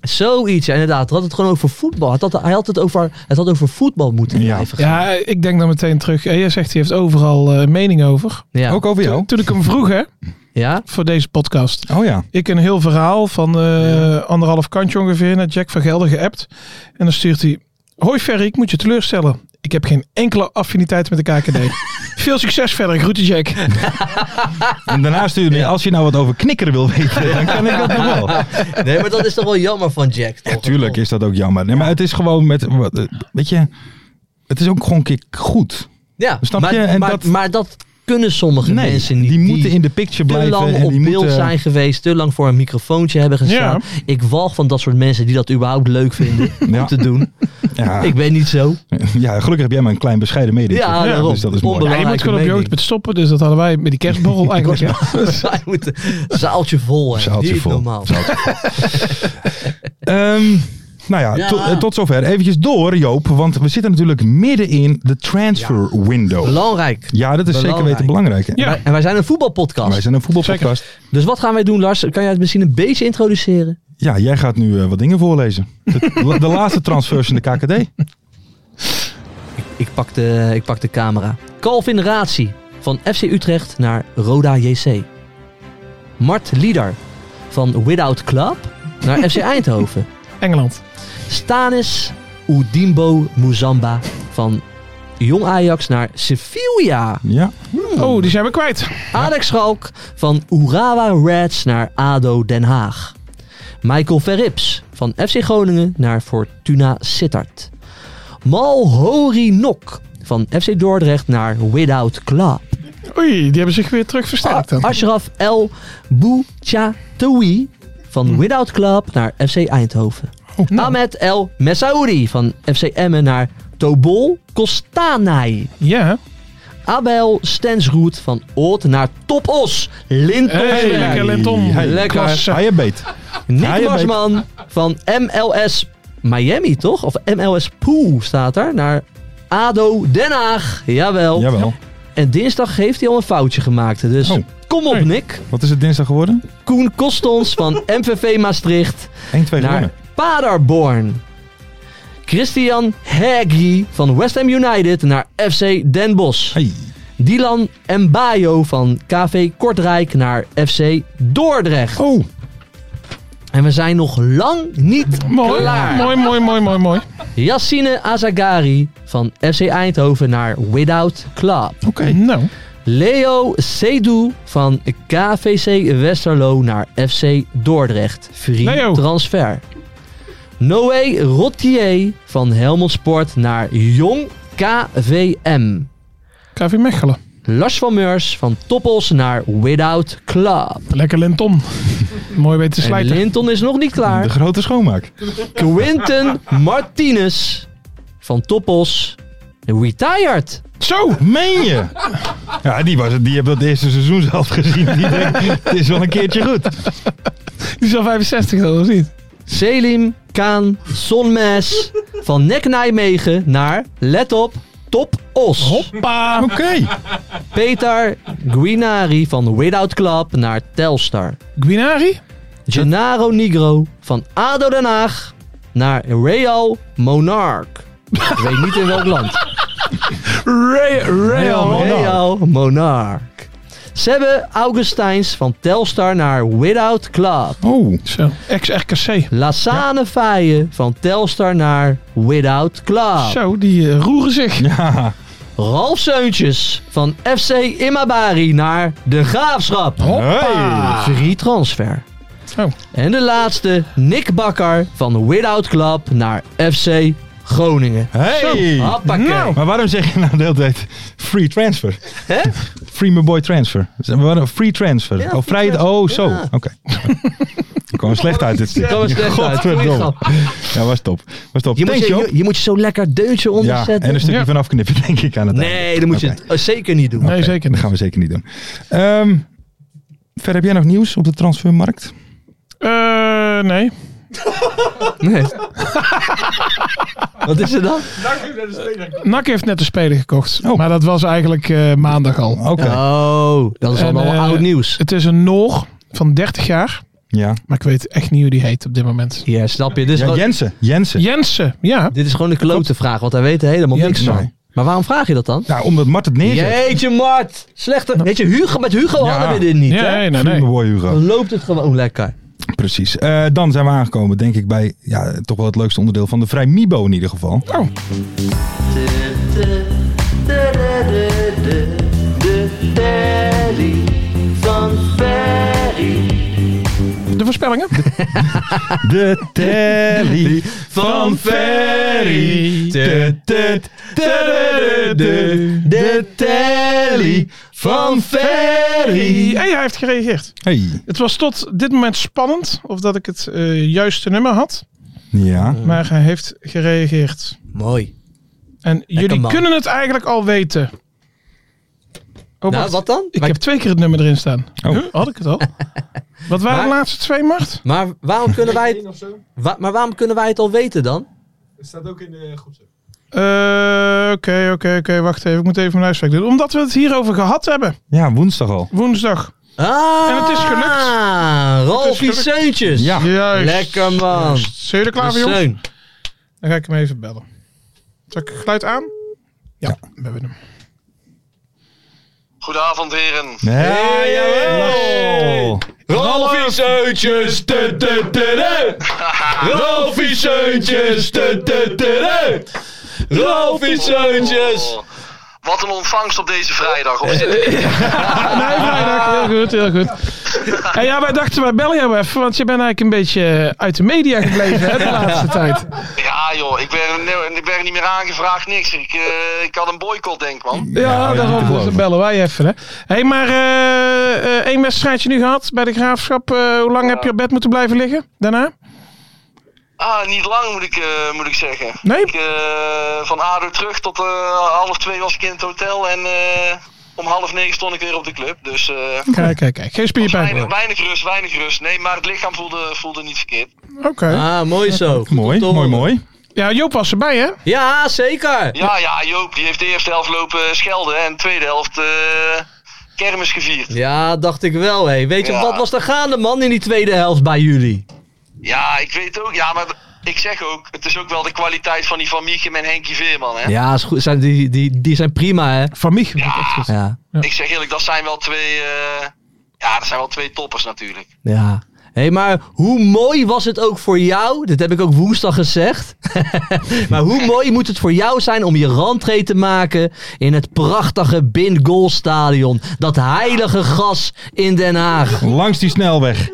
Speaker 4: Zoiets, ja, inderdaad. Hij had het gewoon over voetbal. Hij had, hij had het, over, het had over voetbal moeten
Speaker 3: Ja.
Speaker 4: blijven gaan.
Speaker 5: Ja, ik denk dan meteen terug. Eh, Jij zegt, hij heeft overal eh, mening over.
Speaker 4: Ja.
Speaker 3: Ook over jou.
Speaker 5: Toen, toen ik hem vroeg, hè,
Speaker 4: Ja?
Speaker 5: voor deze podcast.
Speaker 3: Oh ja.
Speaker 5: Ik een heel verhaal van eh, anderhalf kantje ongeveer naar Jack van Gelder geappt. En dan stuurt hij... Hoi Ferry, ik moet je teleurstellen. Ik heb geen enkele affiniteit met de KKD. Veel succes verder, groeten Jack.
Speaker 3: En daarna stuurde je, als je nou wat over knikkeren wil weten, dan kan ik dat nog wel.
Speaker 4: Nee, maar dat is toch wel jammer van Jack. Toch?
Speaker 3: Tuurlijk is dat ook jammer. Nee, maar het is gewoon met, wat, eh, weet je, het is ook gewoon een keer goed.
Speaker 4: Ja,
Speaker 3: Snap
Speaker 4: maar,
Speaker 3: je? En
Speaker 4: maar,
Speaker 3: dat-
Speaker 4: maar dat kunnen sommige
Speaker 3: Nee,
Speaker 4: mensen niet.
Speaker 3: die moeten in de picture
Speaker 4: te
Speaker 3: blijven.
Speaker 4: lang
Speaker 3: en
Speaker 4: op
Speaker 3: die
Speaker 4: beeld
Speaker 3: moeten,
Speaker 4: zijn geweest, te lang voor een microfoontje hebben gestaan. Ik walg van dat soort mensen die dat überhaupt leuk vinden
Speaker 3: Ja.
Speaker 4: om te doen.
Speaker 3: Ja,
Speaker 4: Ik ben niet zo.
Speaker 3: ja, gelukkig heb jij maar een klein bescheiden mede.
Speaker 4: Ja, daarom.
Speaker 3: dus dat is mooi.
Speaker 4: Onbelangrijk.
Speaker 5: Ja, je moet gewoon op
Speaker 4: mening.
Speaker 5: je hoogte met stoppen. Dus dat hadden wij met die kerstborrel eigenlijk. ja.
Speaker 4: Wij moeten zaaltje vol. Hè.
Speaker 3: Zaaltje
Speaker 4: Niet
Speaker 3: vol.
Speaker 4: normaal.
Speaker 3: Ehm, nou ja,
Speaker 4: Ja.
Speaker 3: Tot, eh, tot zover. Eventjes door, Joop, want we zitten natuurlijk midden in de transfer window.
Speaker 4: Belangrijk.
Speaker 3: Ja, dat is zeker weten belangrijk. hè?
Speaker 5: Ja.
Speaker 4: En wij zijn een voetbalpodcast.
Speaker 3: Wij zijn een voetbalpodcast.
Speaker 4: Dus wat gaan wij doen, Lars? Kan jij het misschien een beetje introduceren?
Speaker 3: Ja, jij gaat nu eh, wat dingen voorlezen. De, de laatste transfers in de KKD.
Speaker 4: Ik pak de, ik pak de camera. Calvin Ratsi van FC Utrecht naar Roda JC. Mart Lieder van Without Club naar FC Eindhoven.
Speaker 5: Engeland.
Speaker 4: Stanis Udimbo Muzamba van Jong Ajax naar Sevilla.
Speaker 3: Ja,
Speaker 5: Oh, die zijn we kwijt.
Speaker 4: Alex Schalk van Urawa Reds naar ADO Den Haag. Michael Verrips van FC Groningen naar Fortuna Sittard. Mal Hori Nok van FC Dordrecht naar Without Club.
Speaker 5: Oei, die hebben zich weer terug versterkt dan.
Speaker 4: Ashraf El Bouchatoui van Without Club naar FC Eindhoven.
Speaker 5: Nou,
Speaker 4: Ahmed El Messaoudi van FC Emmen naar Tobol Kostanai.
Speaker 5: ja.
Speaker 4: Abel Stensroet van Oort naar Topos Lintonsberg.
Speaker 5: Hey, lekker Lenton.
Speaker 3: Hey,
Speaker 4: lekker.
Speaker 5: Klaas.
Speaker 3: hij beet. Ja,
Speaker 4: Nick
Speaker 3: je
Speaker 4: Marsman van MLS Miami, toch? Of MLS Pool staat er. Naar ADO Den Haag. Jawel.
Speaker 3: Jawel.
Speaker 4: En dinsdag heeft hij al een foutje gemaakt. Dus
Speaker 3: Oh.
Speaker 4: kom op,
Speaker 5: Hey.
Speaker 4: Nick.
Speaker 3: Wat is het dinsdag geworden? 1-2
Speaker 4: Koen Kostons van MVV Maastricht
Speaker 3: 2 gewonnen.
Speaker 4: naar Paderborn. Christian Haggy van West Ham United naar FC Den Bosch.
Speaker 3: Hey.
Speaker 4: Dylan Mbayo van KV Kortrijk naar FC Dordrecht.
Speaker 3: Oh,
Speaker 4: En we zijn nog lang niet
Speaker 5: Mooi,
Speaker 4: klaar.
Speaker 5: mooi, mooi, mooi, mooi, mooi.
Speaker 4: Yassine Azagari van FC Eindhoven naar Without Club.
Speaker 3: oké.
Speaker 5: Nou,
Speaker 4: Leo Seydoux van KVC Westerlo naar FC Dordrecht. Free
Speaker 5: Leo.
Speaker 4: transfer. Noé Rottier van Helmond Sport naar Jong KVM.
Speaker 5: KV Mechelen.
Speaker 4: Lars van Meurs van Toppels naar Without Club.
Speaker 5: Lekker Lenton. mooi weten te
Speaker 4: En
Speaker 5: slijten.
Speaker 4: Linton is nog niet
Speaker 3: De
Speaker 4: klaar.
Speaker 3: grote schoonmaak.
Speaker 4: Quinten Martinez van Toppels. Retired.
Speaker 3: Zo! Meen je? Ja, die, was, het- die hebben dat eerste seizoen zelf gezien. Die denkt, het is wel een keertje goed.
Speaker 5: Die is al 65 dan, of niet?
Speaker 4: Selim Kaan Sonmes van Nek Nijmegen naar, let op, Top Os.
Speaker 5: Pa.
Speaker 3: Oké.
Speaker 4: Peter Guinari van Without Club naar Telstar.
Speaker 5: Guinari?
Speaker 4: Gennaro Nigro van ADO Den Haag naar Real Monarch. Ik weet niet in welk land.
Speaker 5: Ray, Real.
Speaker 3: Real. Monarch.
Speaker 4: Real Monarch. Sebbe Augustijns van Telstar naar Without Club.
Speaker 3: Oh.
Speaker 5: Zo, ex-RKC.
Speaker 4: Lassane Faaien van Telstar naar Without Club.
Speaker 5: Zo, die eh, roeren zich.
Speaker 3: Ja.
Speaker 4: Ralf Seuntjes van FC Imabari naar De Graafschap.
Speaker 3: Hey.
Speaker 4: Free transfer.
Speaker 5: Oh.
Speaker 4: En de laatste, Nick Bakker van Without Club naar FC Groningen.
Speaker 3: Hey.
Speaker 4: Hoppakee.
Speaker 5: Nou.
Speaker 3: Maar waarom zeg je nou de hele tijd free transfer?
Speaker 4: Hè?
Speaker 3: Free my boy transfer. Zeg maar, waarom- Free transfer.
Speaker 4: Ja,
Speaker 3: oh,
Speaker 4: free
Speaker 3: vrij.
Speaker 4: transfer.
Speaker 3: Oh, zo.
Speaker 4: Ja.
Speaker 3: Oké. Ik kwam er slecht uit dit stuk.
Speaker 4: kwam er slecht uit.
Speaker 3: Godverdomme.
Speaker 4: Goeie
Speaker 3: Ja, was top. Was top.
Speaker 4: Je moet
Speaker 3: Thanks,
Speaker 4: je,
Speaker 3: joh.
Speaker 4: je, je moet je zo lekker deutje
Speaker 3: Ja,
Speaker 4: onderzetten.
Speaker 3: en een stukje
Speaker 5: Ja.
Speaker 3: vanaf knippen, denk ik, aan het eind.
Speaker 4: nee, dat moet je
Speaker 3: Oké.
Speaker 4: het, eh, zeker niet doen.
Speaker 5: Nee, zeker
Speaker 3: Dat
Speaker 5: niet.
Speaker 3: gaan we zeker niet doen. Ehm, verder heb jij nog nieuws op de transfermarkt?
Speaker 5: Eh, nee.
Speaker 4: Nee. Wat is er dan?
Speaker 5: NAC heeft net een speler gekocht.
Speaker 3: Oh.
Speaker 5: Maar dat was eigenlijk eh, maandag al.
Speaker 3: Oké.
Speaker 4: Oh, dat is
Speaker 5: En,
Speaker 4: allemaal
Speaker 5: eh,
Speaker 4: oud nieuws.
Speaker 5: Het is een Noor van 30 jaar.
Speaker 3: Ja.
Speaker 5: Maar ik weet echt niet hoe die heet op dit moment.
Speaker 4: Ja, snap je. Dit is,
Speaker 3: ja.
Speaker 4: gewoon,
Speaker 3: Jensen. Jensen.
Speaker 5: Jensen, ja.
Speaker 4: dit is gewoon een klote vraag, want hij weet er helemaal
Speaker 5: Ja,
Speaker 4: niks
Speaker 3: nee.
Speaker 4: van. Maar waarom vraag je dat dan?
Speaker 3: Nou, omdat Mart het neerzet.
Speaker 4: Jeetje, Mart. Slechte. Weet je, Hugo, met Hugo
Speaker 3: Ja.
Speaker 4: hadden we dit niet. hè?
Speaker 5: Ja, nee, nee,
Speaker 3: Vriend,
Speaker 5: nee.
Speaker 3: mijn boy, Hugo.
Speaker 4: Dan loopt het gewoon lekker.
Speaker 3: Precies. Eh, dan zijn we aangekomen, denk ik, bij ja, toch wel het leukste onderdeel van de Vrij Mibo in ieder geval.
Speaker 5: Oh. De voorspellingen?
Speaker 3: De telly van
Speaker 5: Ferry.
Speaker 3: De, de, de, de, de, de telly van Ferry.
Speaker 5: Hey, hij heeft gereageerd.
Speaker 3: Hey.
Speaker 5: Het was tot dit moment spannend of dat ik het eh, juiste nummer had.
Speaker 3: Ja.
Speaker 4: Hmm.
Speaker 5: Maar hij heeft gereageerd.
Speaker 4: Mooi.
Speaker 5: En jullie
Speaker 4: man.
Speaker 5: kunnen het eigenlijk al weten. Oh,
Speaker 4: Nou,
Speaker 5: wacht.
Speaker 4: wat dan?
Speaker 5: Ik
Speaker 4: maar,
Speaker 5: heb twee keer het nummer erin staan.
Speaker 3: Oh.
Speaker 5: Huh? Had ik het al? Wat waren
Speaker 4: Maar-
Speaker 5: de laatste twee, Mart?
Speaker 4: maar waarom kunnen wij het, wa- maar waarom kunnen wij het al weten dan?
Speaker 5: Eh, Oké, oké, oké. Wacht even. Ik moet even mijn huiswerk doen. Omdat we het hierover gehad hebben.
Speaker 3: ja, woensdag al.
Speaker 5: Woensdag.
Speaker 4: Ah,
Speaker 5: En het is gelukt.
Speaker 4: Ralfie
Speaker 5: gelukt.
Speaker 4: Seuntjes.
Speaker 3: Ja.
Speaker 5: Juist.
Speaker 4: Lekker man.
Speaker 5: Zijn jullie er klaar voor, jongens?
Speaker 4: Seun.
Speaker 5: Dan ga ik hem even bellen. Zal ik het geluid aan? Ja, we hebben hem.
Speaker 6: Goedenavond, heren.
Speaker 3: Ja, jawel.
Speaker 4: Ralfie
Speaker 3: Seuntjes. Rolfie Seuntjes. Rolfie
Speaker 6: Oh, wat een ontvangst op deze vrijdag. Of is dit-
Speaker 5: Nee, vrijdag. Heel goed, heel goed. En ja, wij dachten, wij bellen jou even. Want je bent eigenlijk een beetje eh, uit de media gebleven hè, de laatste tijd.
Speaker 6: Ja, joh, ik ben, nee, ik ben niet meer aangevraagd, niks. Ik, eh, ik had een boycott, denk ik, man.
Speaker 5: Ja,
Speaker 3: ja, te
Speaker 5: daarom dus
Speaker 3: geloven.
Speaker 5: dan bellen wij even. Hè. hey, maar eh, eh, één wedstrijdje nu gehad bij de Graafschap. Eh, hoe lang heb je op bed moeten blijven liggen daarna?
Speaker 6: Ah, niet lang, moet ik, eh, moet ik zeggen.
Speaker 5: Nee?
Speaker 6: Ik, eh, van ADO terug tot eh, half twee was ik in het hotel. En eh, om half negen stond ik weer op de club. Dus eh,
Speaker 5: Kijk, kijk, kijk. Geen
Speaker 6: weinig,
Speaker 5: spierpijn.
Speaker 6: weinig rust, weinig rust. Nee, maar het lichaam voelde, voelde niet verkeerd.
Speaker 5: Oké.
Speaker 4: Ah, mooi zo. Goed
Speaker 3: Mooi,
Speaker 4: om te
Speaker 3: mooi,
Speaker 4: horen.
Speaker 3: mooi.
Speaker 5: Ja, Joop was erbij, hè?
Speaker 4: Ja, zeker.
Speaker 6: Ja, ja, Joop, die heeft de eerste helft lopen schelden. En de tweede helft eh, kermis gevierd.
Speaker 4: Ja, dacht ik wel. Hé. Weet je,
Speaker 6: Ja.
Speaker 4: wat was er gaande man in die tweede helft bij jullie?
Speaker 6: Ja, ik weet ook. Ja, maar ik zeg ook, het is ook wel de kwaliteit van die Van Miechem en Henkie Veerman. Hè?
Speaker 4: Ja, is goed. Zijn, die, die, die zijn prima hè.
Speaker 5: Van Mich. echt goed.
Speaker 4: Ja,
Speaker 6: Ik zeg eerlijk, dat zijn wel twee. eh, ja, dat zijn wel twee toppers natuurlijk.
Speaker 4: ja. Hé, hey, maar hoe mooi was het ook voor jou? Dit heb ik ook woensdag gezegd. maar hoe mooi moet het voor jou zijn om je rentree te maken in het prachtige Bin Goal Stadion. Dat heilige gas in Den Haag.
Speaker 3: Langs die snelweg.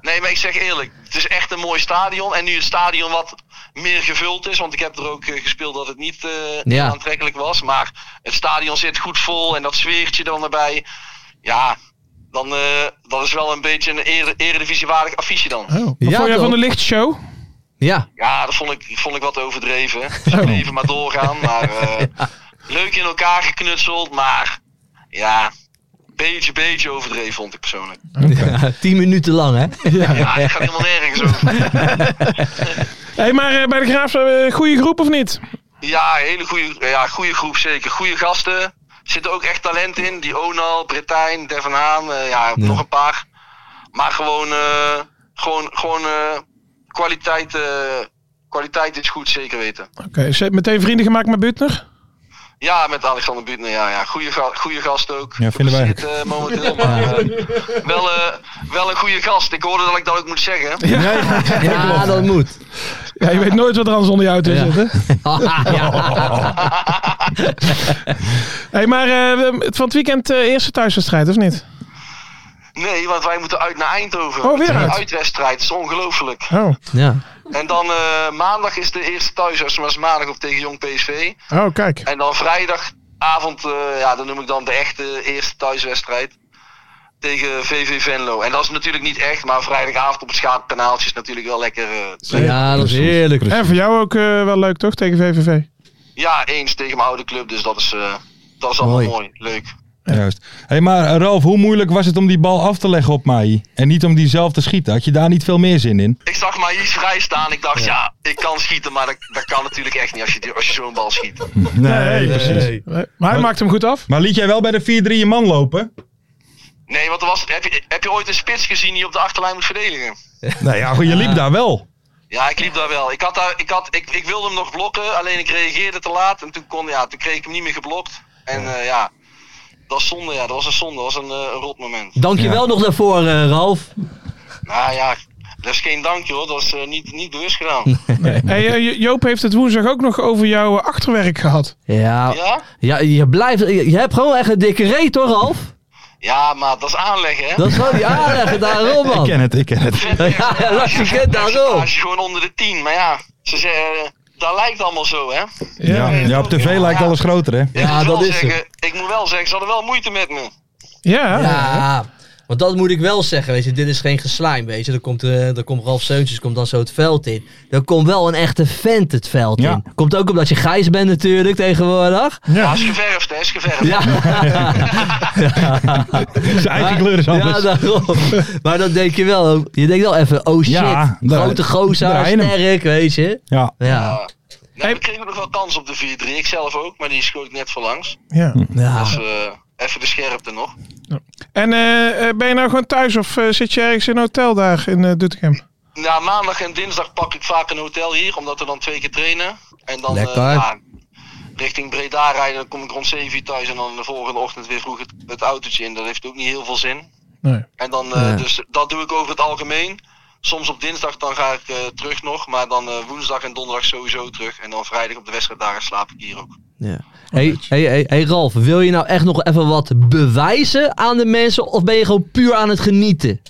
Speaker 6: Nee, maar ik zeg eerlijk, het is echt een mooi stadion. En nu het stadion wat meer gevuld is, want ik heb er ook eh, gespeeld dat het niet eh,
Speaker 4: Ja.
Speaker 6: aantrekkelijk was. Maar het stadion zit goed vol en dat sfeertje dan erbij. Ja, dan, eh, dat is wel een beetje een ere- eredivisiewaardig affiche dan.
Speaker 5: Oh. Wat
Speaker 4: Ja,
Speaker 5: vond jij
Speaker 4: toch?
Speaker 5: van de lichtshow?
Speaker 4: Ja,
Speaker 6: Ja, dat vond ik, vond ik wat overdreven. Dus ik bleef maar doorgaan. Maar eh, leuk in elkaar geknutseld, maar ja, beetje, beetje overdreven vond ik persoonlijk.
Speaker 4: ja tien minuten lang hè.
Speaker 6: Ja, ik ga helemaal nergens over.
Speaker 5: Hé, hey, maar eh, bij de Graaf, eh, goede groep of niet?
Speaker 6: Ja, hele goede ja, goede groep zeker. Goede gasten. Er zitten ook echt talent in. Die Onal, Bretijn, Devon Haan, eh, ja, nog een paar. Maar gewoon, eh, gewoon, gewoon eh, kwaliteit, eh, kwaliteit is goed, zeker weten.
Speaker 5: Oké, ze heeft meteen vrienden gemaakt met Butner.
Speaker 6: Ja, met Alexander Buutner, ja, ja. Goeie, ga- goeie gast ook.
Speaker 3: Ja, vinden wij ook.
Speaker 6: Zit, eh, momenteel, maar eh, wel, eh, wel een goede gast. Ik hoorde dat ik dat ook moet zeggen.
Speaker 4: Ja, dat moet.
Speaker 5: Ja, je weet nooit wat er anders onder je auto
Speaker 4: Ja.
Speaker 5: zit, hè? Hé, hey, maar eh, het van het weekend eh, eerste thuiswedstrijd, of niet?
Speaker 6: Nee, want wij moeten uit naar Eindhoven.
Speaker 5: Oh, weer
Speaker 6: Het is
Speaker 5: uit.
Speaker 6: Een uitwedstrijd, dat is ongelooflijk.
Speaker 5: Oh, oh
Speaker 4: Ja.
Speaker 6: En dan eh, maandag is de eerste thuisarts, maar is maandag op tegen Jong PSV.
Speaker 5: Oh, kijk.
Speaker 6: En dan vrijdagavond, eh, ja, dan noem ik dan de echte eerste thuiswedstrijd. tegen VV Venlo. En dat is natuurlijk niet echt, maar vrijdagavond op het schaapkanaaltje is natuurlijk wel lekker. eh,
Speaker 4: Ja, dat is heerlijk.
Speaker 5: En voor jou ook eh, wel leuk toch, tegen VVV?
Speaker 6: ja, eens tegen mijn oude club, dus dat is, eh, dat is allemaal
Speaker 4: Mooi.
Speaker 6: mooi. Leuk.
Speaker 3: Juist. hey, maar eh, Ralf, hoe moeilijk was het om die bal af te leggen op Mai? En niet om die zelf te schieten? Had je daar niet veel meer zin in?
Speaker 6: Ik zag maar iets vrij staan. Ik dacht, ja, ik kan schieten, maar dat, dat kan natuurlijk echt niet als je, die- als je zo'n bal schiet.
Speaker 3: Nee, precies.
Speaker 5: Maar hij maakt hem goed af.
Speaker 3: Maar liet jij wel bij de 4-3 je man lopen?
Speaker 6: Nee, want er was, heb, je, heb je ooit een spits gezien die op de achterlijn moet verdedigen?
Speaker 3: Nou ja, goed, je liep daar wel.
Speaker 6: Ja, ik liep daar wel. Ik, had daar, ik, had, ik, ik wilde hem nog blokken, alleen ik reageerde te laat. En toen, kon, ja, toen kreeg ik hem niet meer geblokt. En eh, ja, dat was zonde. Ja, dat was een zonde. Dat was een, eh, een rot moment.
Speaker 4: Dankjewel nog daarvoor, eh, Ralf.
Speaker 6: Nou ja, dat is geen dankje hoor. Dat is eh, niet, niet bewust gedaan.
Speaker 5: Hey, eh, Jo- Joop heeft het woensdag ook nog over jouw eh, achterwerk gehad.
Speaker 4: Ja,
Speaker 6: Ja?
Speaker 4: ja je, blijft, je, je hebt gewoon echt een dikke reet hoor, Ralf.
Speaker 6: Ja, maar dat is aanleggen hè.
Speaker 4: Dat is gewoon die aardige daarom,
Speaker 3: Ik
Speaker 4: man.
Speaker 3: ken het, ik ken het.
Speaker 4: Ja, ja, dat is je daarom.
Speaker 6: Als je gewoon onder de 10. Maar ja, ze zeggen, eh, dat lijkt allemaal zo hè.
Speaker 3: Ja, ja op tv lijkt alles groter, hè?
Speaker 6: Ik
Speaker 4: Ja,
Speaker 6: moet wel
Speaker 4: dat is
Speaker 6: zeggen, Ik moet wel zeggen, ze hadden wel moeite met me.
Speaker 5: Ja.
Speaker 4: Ja, want dat moet ik wel zeggen, weet je. Dit is geen geslijm, weet je. Dan komt, eh, dan komt Ralf Seuntjes komt dan zo het veld in. Dan komt wel een echte vent het veld
Speaker 3: Ja.
Speaker 4: in. Komt ook omdat je Gijs bent natuurlijk tegenwoordig.
Speaker 6: Ja, is geverfd hè, is geverfd.
Speaker 4: Ja,
Speaker 3: Zijn eigen kleur is
Speaker 4: ja
Speaker 3: anders.
Speaker 4: daarom. Maar dan denk je wel, je denkt wel even, oh shit,
Speaker 3: Ja, daar-
Speaker 4: grote gozer,
Speaker 3: daar heen hem.
Speaker 4: sterk, weet je.
Speaker 3: Ja,
Speaker 4: Ja,
Speaker 6: Nee, we kregen nog wel kans op de 4-3. Ik zelf ook, maar die schoot ik net voor langs.
Speaker 5: Ja.
Speaker 4: ja.
Speaker 6: Dus eh, even de scherpte nog.
Speaker 5: En eh, eh, ben je nou gewoon thuis of eh, zit je ergens in een hotel daar in eh, Doetinchem?
Speaker 6: Na maandag en dinsdag pak ik vaak een hotel hier, omdat we dan twee keer trainen. En dan eh,
Speaker 4: Lekker.
Speaker 6: ja, richting Breda rijden, dan kom ik rond 7 uur thuis. En dan de volgende ochtend weer vroeg het, het autootje in. Dat heeft ook niet heel veel zin.
Speaker 5: Nee.
Speaker 6: En dan, eh,
Speaker 4: Ja.
Speaker 6: dus dat doe ik over het algemeen. Soms op dinsdag dan ga ik eh, terug nog, maar dan eh, woensdag en donderdag sowieso terug. En dan vrijdag op de wedstrijddagen slaap ik hier ook.
Speaker 4: ja. Hey, hey, hey, hey Ralf, wil je nou echt nog even wat bewijzen aan de mensen of ben je gewoon puur aan het genieten?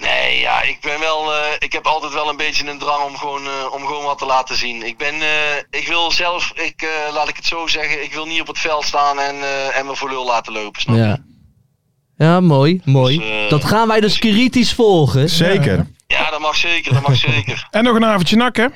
Speaker 6: Nee, ja, ik ben wel. eh, ik heb altijd wel een beetje een drang om gewoon, eh, om gewoon wat te laten zien. Ik ben. eh, ik wil zelf. Ik, eh, laat ik het zo zeggen. Ik wil niet op het veld staan en, eh, en me voor lul laten lopen. Snap je? Ja.
Speaker 4: Ja. Ja, mooi, mooi.
Speaker 6: Dus, eh,
Speaker 4: dat gaan wij dus kritisch volgen.
Speaker 3: zeker.
Speaker 6: dat mag zeker. Dat mag zeker.
Speaker 5: En nog een avondje nakken.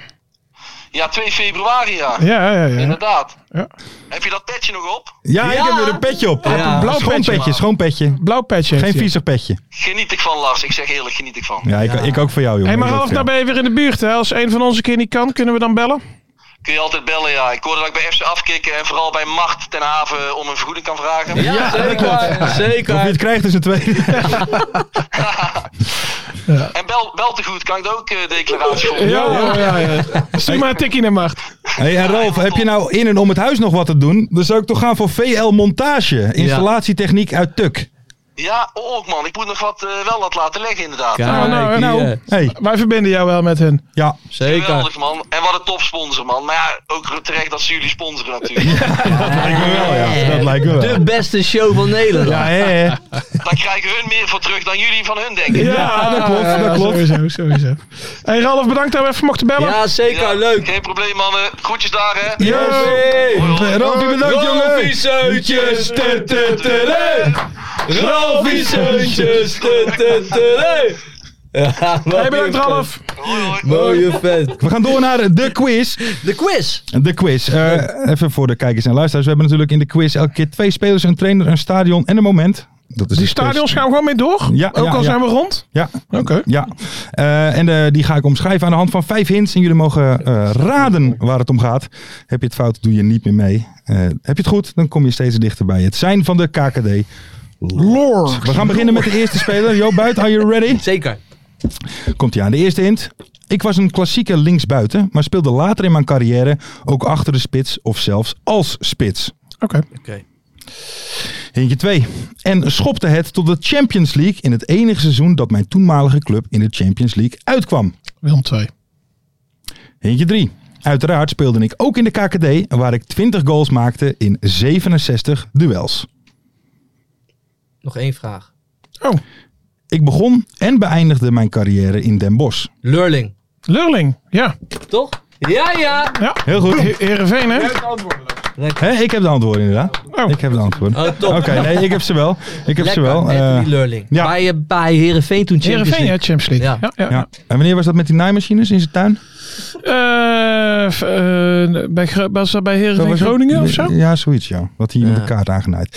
Speaker 6: Ja, 2 februari, ja.
Speaker 5: Ja, ja, ja.
Speaker 6: Inderdaad.
Speaker 5: Ja.
Speaker 6: Heb je dat petje nog op?
Speaker 3: Ja, ik
Speaker 4: Ja.
Speaker 3: heb weer een petje op.
Speaker 4: Ja.
Speaker 3: Een blauw
Speaker 5: Schoon
Speaker 3: schoon petje,
Speaker 6: petje.
Speaker 3: schoon petje.
Speaker 5: Blauw petje. heeft
Speaker 3: Geen
Speaker 5: hij.
Speaker 3: viezig petje.
Speaker 6: Geniet ik van, Lars. Ik zeg eerlijk, geniet ik van.
Speaker 3: Ja, ik, ik ook voor jou, jongen.
Speaker 5: Hé, maar
Speaker 3: Ik ook
Speaker 5: Ralf,
Speaker 3: voor
Speaker 5: nou
Speaker 3: jou.
Speaker 5: ben je weer in de buurt. Hè? Als een van onze keer niet kan, kunnen we dan bellen?
Speaker 6: Kun je altijd bellen, ja. Ik hoorde dat ik bij FC afkikken en vooral bij Macht ten Haven om een vergoeding kan vragen.
Speaker 4: Ja, zeker.
Speaker 3: Of je
Speaker 4: zeker.
Speaker 3: het krijgt is een tweede.
Speaker 6: En bel, bel te goed, kan ik er ook eh, declaratie voor?
Speaker 5: Ja, ja, ja. ja. Stuur maar een tikkie naar Mart.
Speaker 3: Hey, en Ralf, heb je nou in en om het huis nog wat te doen? Dan zou ik toch gaan voor VL Montage. Installatietechniek uit Tuk.
Speaker 6: Ja, ook man. Ik moet nog wat eh, wel wat laten leggen inderdaad.
Speaker 4: Kijk,
Speaker 5: Nou, nou, nou.
Speaker 4: hier. eh,
Speaker 3: Hey,
Speaker 5: Wij verbinden jou wel met hen.
Speaker 3: ja.
Speaker 4: Zeker.
Speaker 6: Geweldig man. En wat een topsponsor man. Maar ja, ook terecht dat ze jullie sponsoren natuurlijk.
Speaker 3: Lijkt me wel, ja. Dat lijkt me wel.
Speaker 4: De beste show van Nederland.
Speaker 3: Ja, hè, hè.
Speaker 6: Daar krijgen hun meer voor terug dan jullie van hun denken.
Speaker 3: Ja, dat klopt,
Speaker 5: ja,
Speaker 3: dat klopt.
Speaker 5: Sowieso, sowieso. Hé, Ralf, bedankt dat we even mochten bellen.
Speaker 4: Ja, zeker. Leuk.
Speaker 6: Geen probleem mannen. Groetjes daar hè.
Speaker 3: Hey, Ralfie, bedankt, jongen.
Speaker 4: Seutjes, Ralfie Seutjes, Ja,
Speaker 5: Hé, bedankt
Speaker 4: eh,
Speaker 5: Ralf.
Speaker 6: Hoi hoi.
Speaker 4: Mooie vent.
Speaker 3: We gaan door naar de quiz.
Speaker 4: De quiz.
Speaker 3: De quiz. Eh, even voor de kijkers en luisteraars. We hebben natuurlijk in de quiz elke keer twee spelers, een trainer, een stadion en een moment. Dat is
Speaker 5: Die
Speaker 3: de quiz.
Speaker 5: stadions gaan we gewoon mee door.
Speaker 3: Ja,
Speaker 5: Ook
Speaker 3: ja,
Speaker 5: al
Speaker 3: ja.
Speaker 5: zijn we rond.
Speaker 3: Ja,
Speaker 5: Oké.
Speaker 3: ja. Eh, en eh, die ga ik omschrijven aan de hand van vijf hints. En jullie mogen eh, raden waar het om gaat. Heb je het fout, doe je niet meer mee. Eh, heb je het goed, dan kom je steeds dichterbij. Het zijn van de KKD. Lord. We gaan beginnen met de eerste speler. Jo Buit, are you ready?
Speaker 4: Zeker.
Speaker 3: Komt hij aan. De eerste hint. Ik was een klassieke linksbuiten, maar speelde later in mijn carrière ook achter de spits of zelfs als spits.
Speaker 5: Oké.
Speaker 3: Hintje 2. En schopte het tot de Champions League in het enige seizoen dat mijn toenmalige club in de Champions League uitkwam.
Speaker 5: Willem 2.
Speaker 3: Hintje 3. Uiteraard speelde ik ook in de KKD, waar ik 20 goals maakte in 67 duels.
Speaker 4: Nog één vraag.
Speaker 5: Oh,
Speaker 3: Ik begon en beëindigde mijn carrière in Den Bosch.
Speaker 4: Lurling.
Speaker 5: Lurling. Ja.
Speaker 4: Toch? Ja, ja.
Speaker 3: Heel goed.
Speaker 5: He- Heerenveen, hè?
Speaker 3: Hè, ik heb de antwoorden inderdaad.
Speaker 5: Oké. Oh.
Speaker 3: Ik heb de antwoorden.
Speaker 4: Oh, top.
Speaker 3: Oké, nee, ik heb ze wel. Ik heb ze wel. Eh,
Speaker 4: Anthony Lurling.
Speaker 3: ja.
Speaker 4: Bij, eh, bij Heerenveen toen Champions
Speaker 5: Heerenveen, ja,
Speaker 4: League.
Speaker 5: Champions League.
Speaker 4: Ja.
Speaker 5: Ja. Ja,
Speaker 3: ja. En wanneer was dat met die naaimachines in zijn tuin?
Speaker 5: Eh, f- eh, bij, Gro- was dat bij
Speaker 3: Dat
Speaker 5: Heerenveen
Speaker 3: was ook-
Speaker 5: Groningen of zo?
Speaker 3: Ja, zoiets, ja. Dat hij iemand
Speaker 4: Ja.
Speaker 3: de kaart aangenaaid.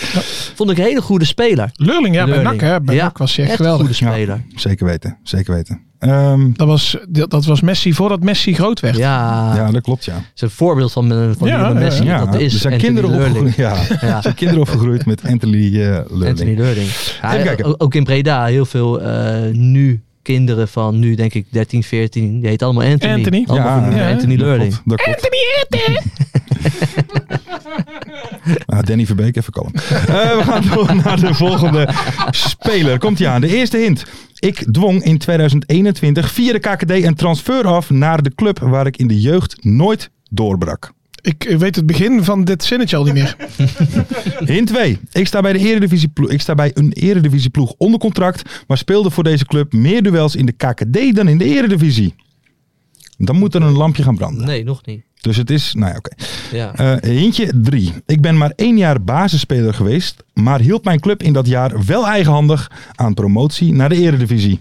Speaker 4: Vond ik een hele goede speler.
Speaker 5: Leurling, ja, bij
Speaker 4: Lurling.
Speaker 5: NAC. Hè. Bij
Speaker 4: Ja,
Speaker 5: NAC was hij echt,
Speaker 4: een
Speaker 5: geweldig.
Speaker 4: goede
Speaker 3: Ja.
Speaker 4: speler.
Speaker 3: Zeker weten, zeker weten. Ehm,
Speaker 5: Dat was, dat, dat was Messi voordat Messi groot werd.
Speaker 4: Ja,
Speaker 3: ja, dat klopt, ja.
Speaker 4: dat is een voorbeeld van, eh, van
Speaker 5: Ja,
Speaker 4: Lionel
Speaker 5: ja,
Speaker 4: Messi.
Speaker 5: ja.
Speaker 3: ja
Speaker 4: dat is
Speaker 3: er zijn
Speaker 4: Anthony
Speaker 3: kinderen
Speaker 4: Lurling.
Speaker 3: opgegroeid. Ja.
Speaker 4: Ja.
Speaker 3: zijn kinderen opgegroeid met Anthony eh
Speaker 4: Anthony
Speaker 3: Lurling.
Speaker 4: Leurling. Ja,
Speaker 3: Even kijken.
Speaker 4: o- ook in Breda heel veel eh, nu kinderen van nu denk ik 13, 14. Die heet allemaal Anthony.
Speaker 5: Anthony.
Speaker 4: Allemaal
Speaker 3: Ja,
Speaker 4: van, eh,
Speaker 5: ja.
Speaker 4: Anthony
Speaker 3: Dat
Speaker 4: Leurling.
Speaker 3: klopt, dat klopt. Ah, Danny Verbeek, even kalm. Eh, we gaan door naar de volgende speler. Komt hij aan. De eerste hint. Ik dwong in 2021 via de KKD een transfer af naar de club waar ik in de jeugd nooit doorbrak.
Speaker 5: Ik eh, weet het begin van dit zinnetje al niet meer.
Speaker 3: Hint 2. Ik sta bij, de eredivisieplo- ik sta bij een eredivisieploeg onder contract, maar speelde voor deze club meer duels in de KKD dan in de eredivisie. Dan moet er een lampje gaan branden.
Speaker 4: Nee, nog niet.
Speaker 3: Dus het is, nou ja, oké.
Speaker 4: Ja.
Speaker 3: Eh, hintje 3. Ik ben maar één jaar basisspeler geweest, maar hielp mijn club in dat jaar wel eigenhandig aan promotie naar de eredivisie.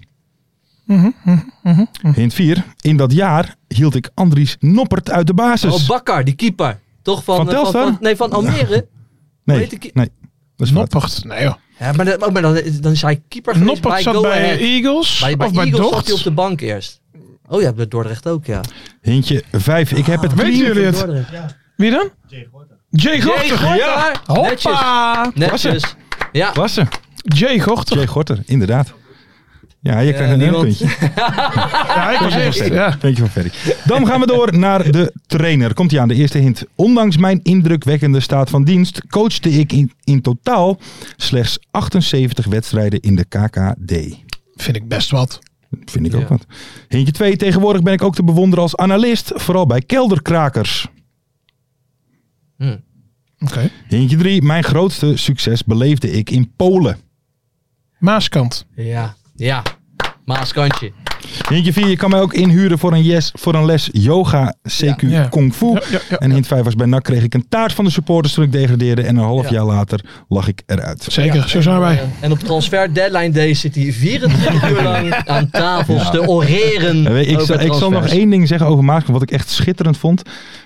Speaker 3: Hint 4. In dat jaar hield ik Andries Noppert uit de basis.
Speaker 4: Oh, Bakker, die keeper. Toch van,
Speaker 3: dus- Van
Speaker 4: eh, van,
Speaker 3: Telstar?
Speaker 4: van- nee, van Almere.
Speaker 3: nee,
Speaker 4: weet ik-
Speaker 3: nee, dat is wat.
Speaker 5: Noppert. Nee joh.
Speaker 4: Ja, maar, dat- maar dan, dan is hij keeper geweest
Speaker 5: Noppert
Speaker 4: bij
Speaker 5: zat
Speaker 4: Go
Speaker 5: bij
Speaker 4: Ahead.
Speaker 5: Eagles.
Speaker 4: Bij, bij
Speaker 5: of bij
Speaker 4: Eagles zat hij op
Speaker 5: Dordt.
Speaker 4: de bank eerst. Oh ja, bij Dordrecht ook, ja.
Speaker 3: Hintje 5. Ik
Speaker 4: Ah,
Speaker 3: heb het
Speaker 5: Weten
Speaker 3: drie-
Speaker 5: jullie het?
Speaker 4: Dordrecht.
Speaker 5: Wie dan? Jay
Speaker 4: Jay
Speaker 5: Gorter.
Speaker 4: Gorter.
Speaker 5: Ja.
Speaker 4: Netjes.
Speaker 5: Hoppa.
Speaker 4: Netjes. dus. Ja.
Speaker 3: Was ze.
Speaker 5: Jay Gorter.
Speaker 3: Jay Gorter, inderdaad. Ja, je krijgt een
Speaker 4: niemand.
Speaker 3: puntje.
Speaker 5: Ja, ik was echt. Ja.
Speaker 3: Puntje van Ferry. Dan gaan we door naar de trainer. Komt hij aan, de eerste hint. Ondanks mijn indrukwekkende staat van dienst coachte ik in, in totaal slechts 78 wedstrijden in de KKD.
Speaker 5: Vind ik best wat.
Speaker 3: Vind ik ook
Speaker 4: Ja.
Speaker 3: wat. Hintje 2. Tegenwoordig ben ik ook te bewonderen als analist, vooral bij kelderkrakers.
Speaker 5: Oké.
Speaker 3: Hintje 3. Mijn grootste succes beleefde ik in Polen.
Speaker 5: Maaskant.
Speaker 4: Ja. Ja. Maaskantje.
Speaker 3: Hintje 4, je kan mij ook inhuren voor een, yes, voor een les yoga, CQ,
Speaker 5: Ja.
Speaker 3: kung fu.
Speaker 5: Ja, ja, ja.
Speaker 3: en hint 5 was bij NAC kreeg ik een taart van de supporters toen ik degradeerde. En een
Speaker 4: Ja.
Speaker 3: half jaar later lag ik eruit.
Speaker 5: Zeker, zo zijn wij.
Speaker 4: En op transfer deadline day zit hij 24 uur lang aan tafels te oreren.
Speaker 3: En weet je, Ik,
Speaker 4: over
Speaker 3: zal, ik zal nog
Speaker 4: transfers.
Speaker 3: één ding zeggen over Maaskant, wat ik echt schitterend vond.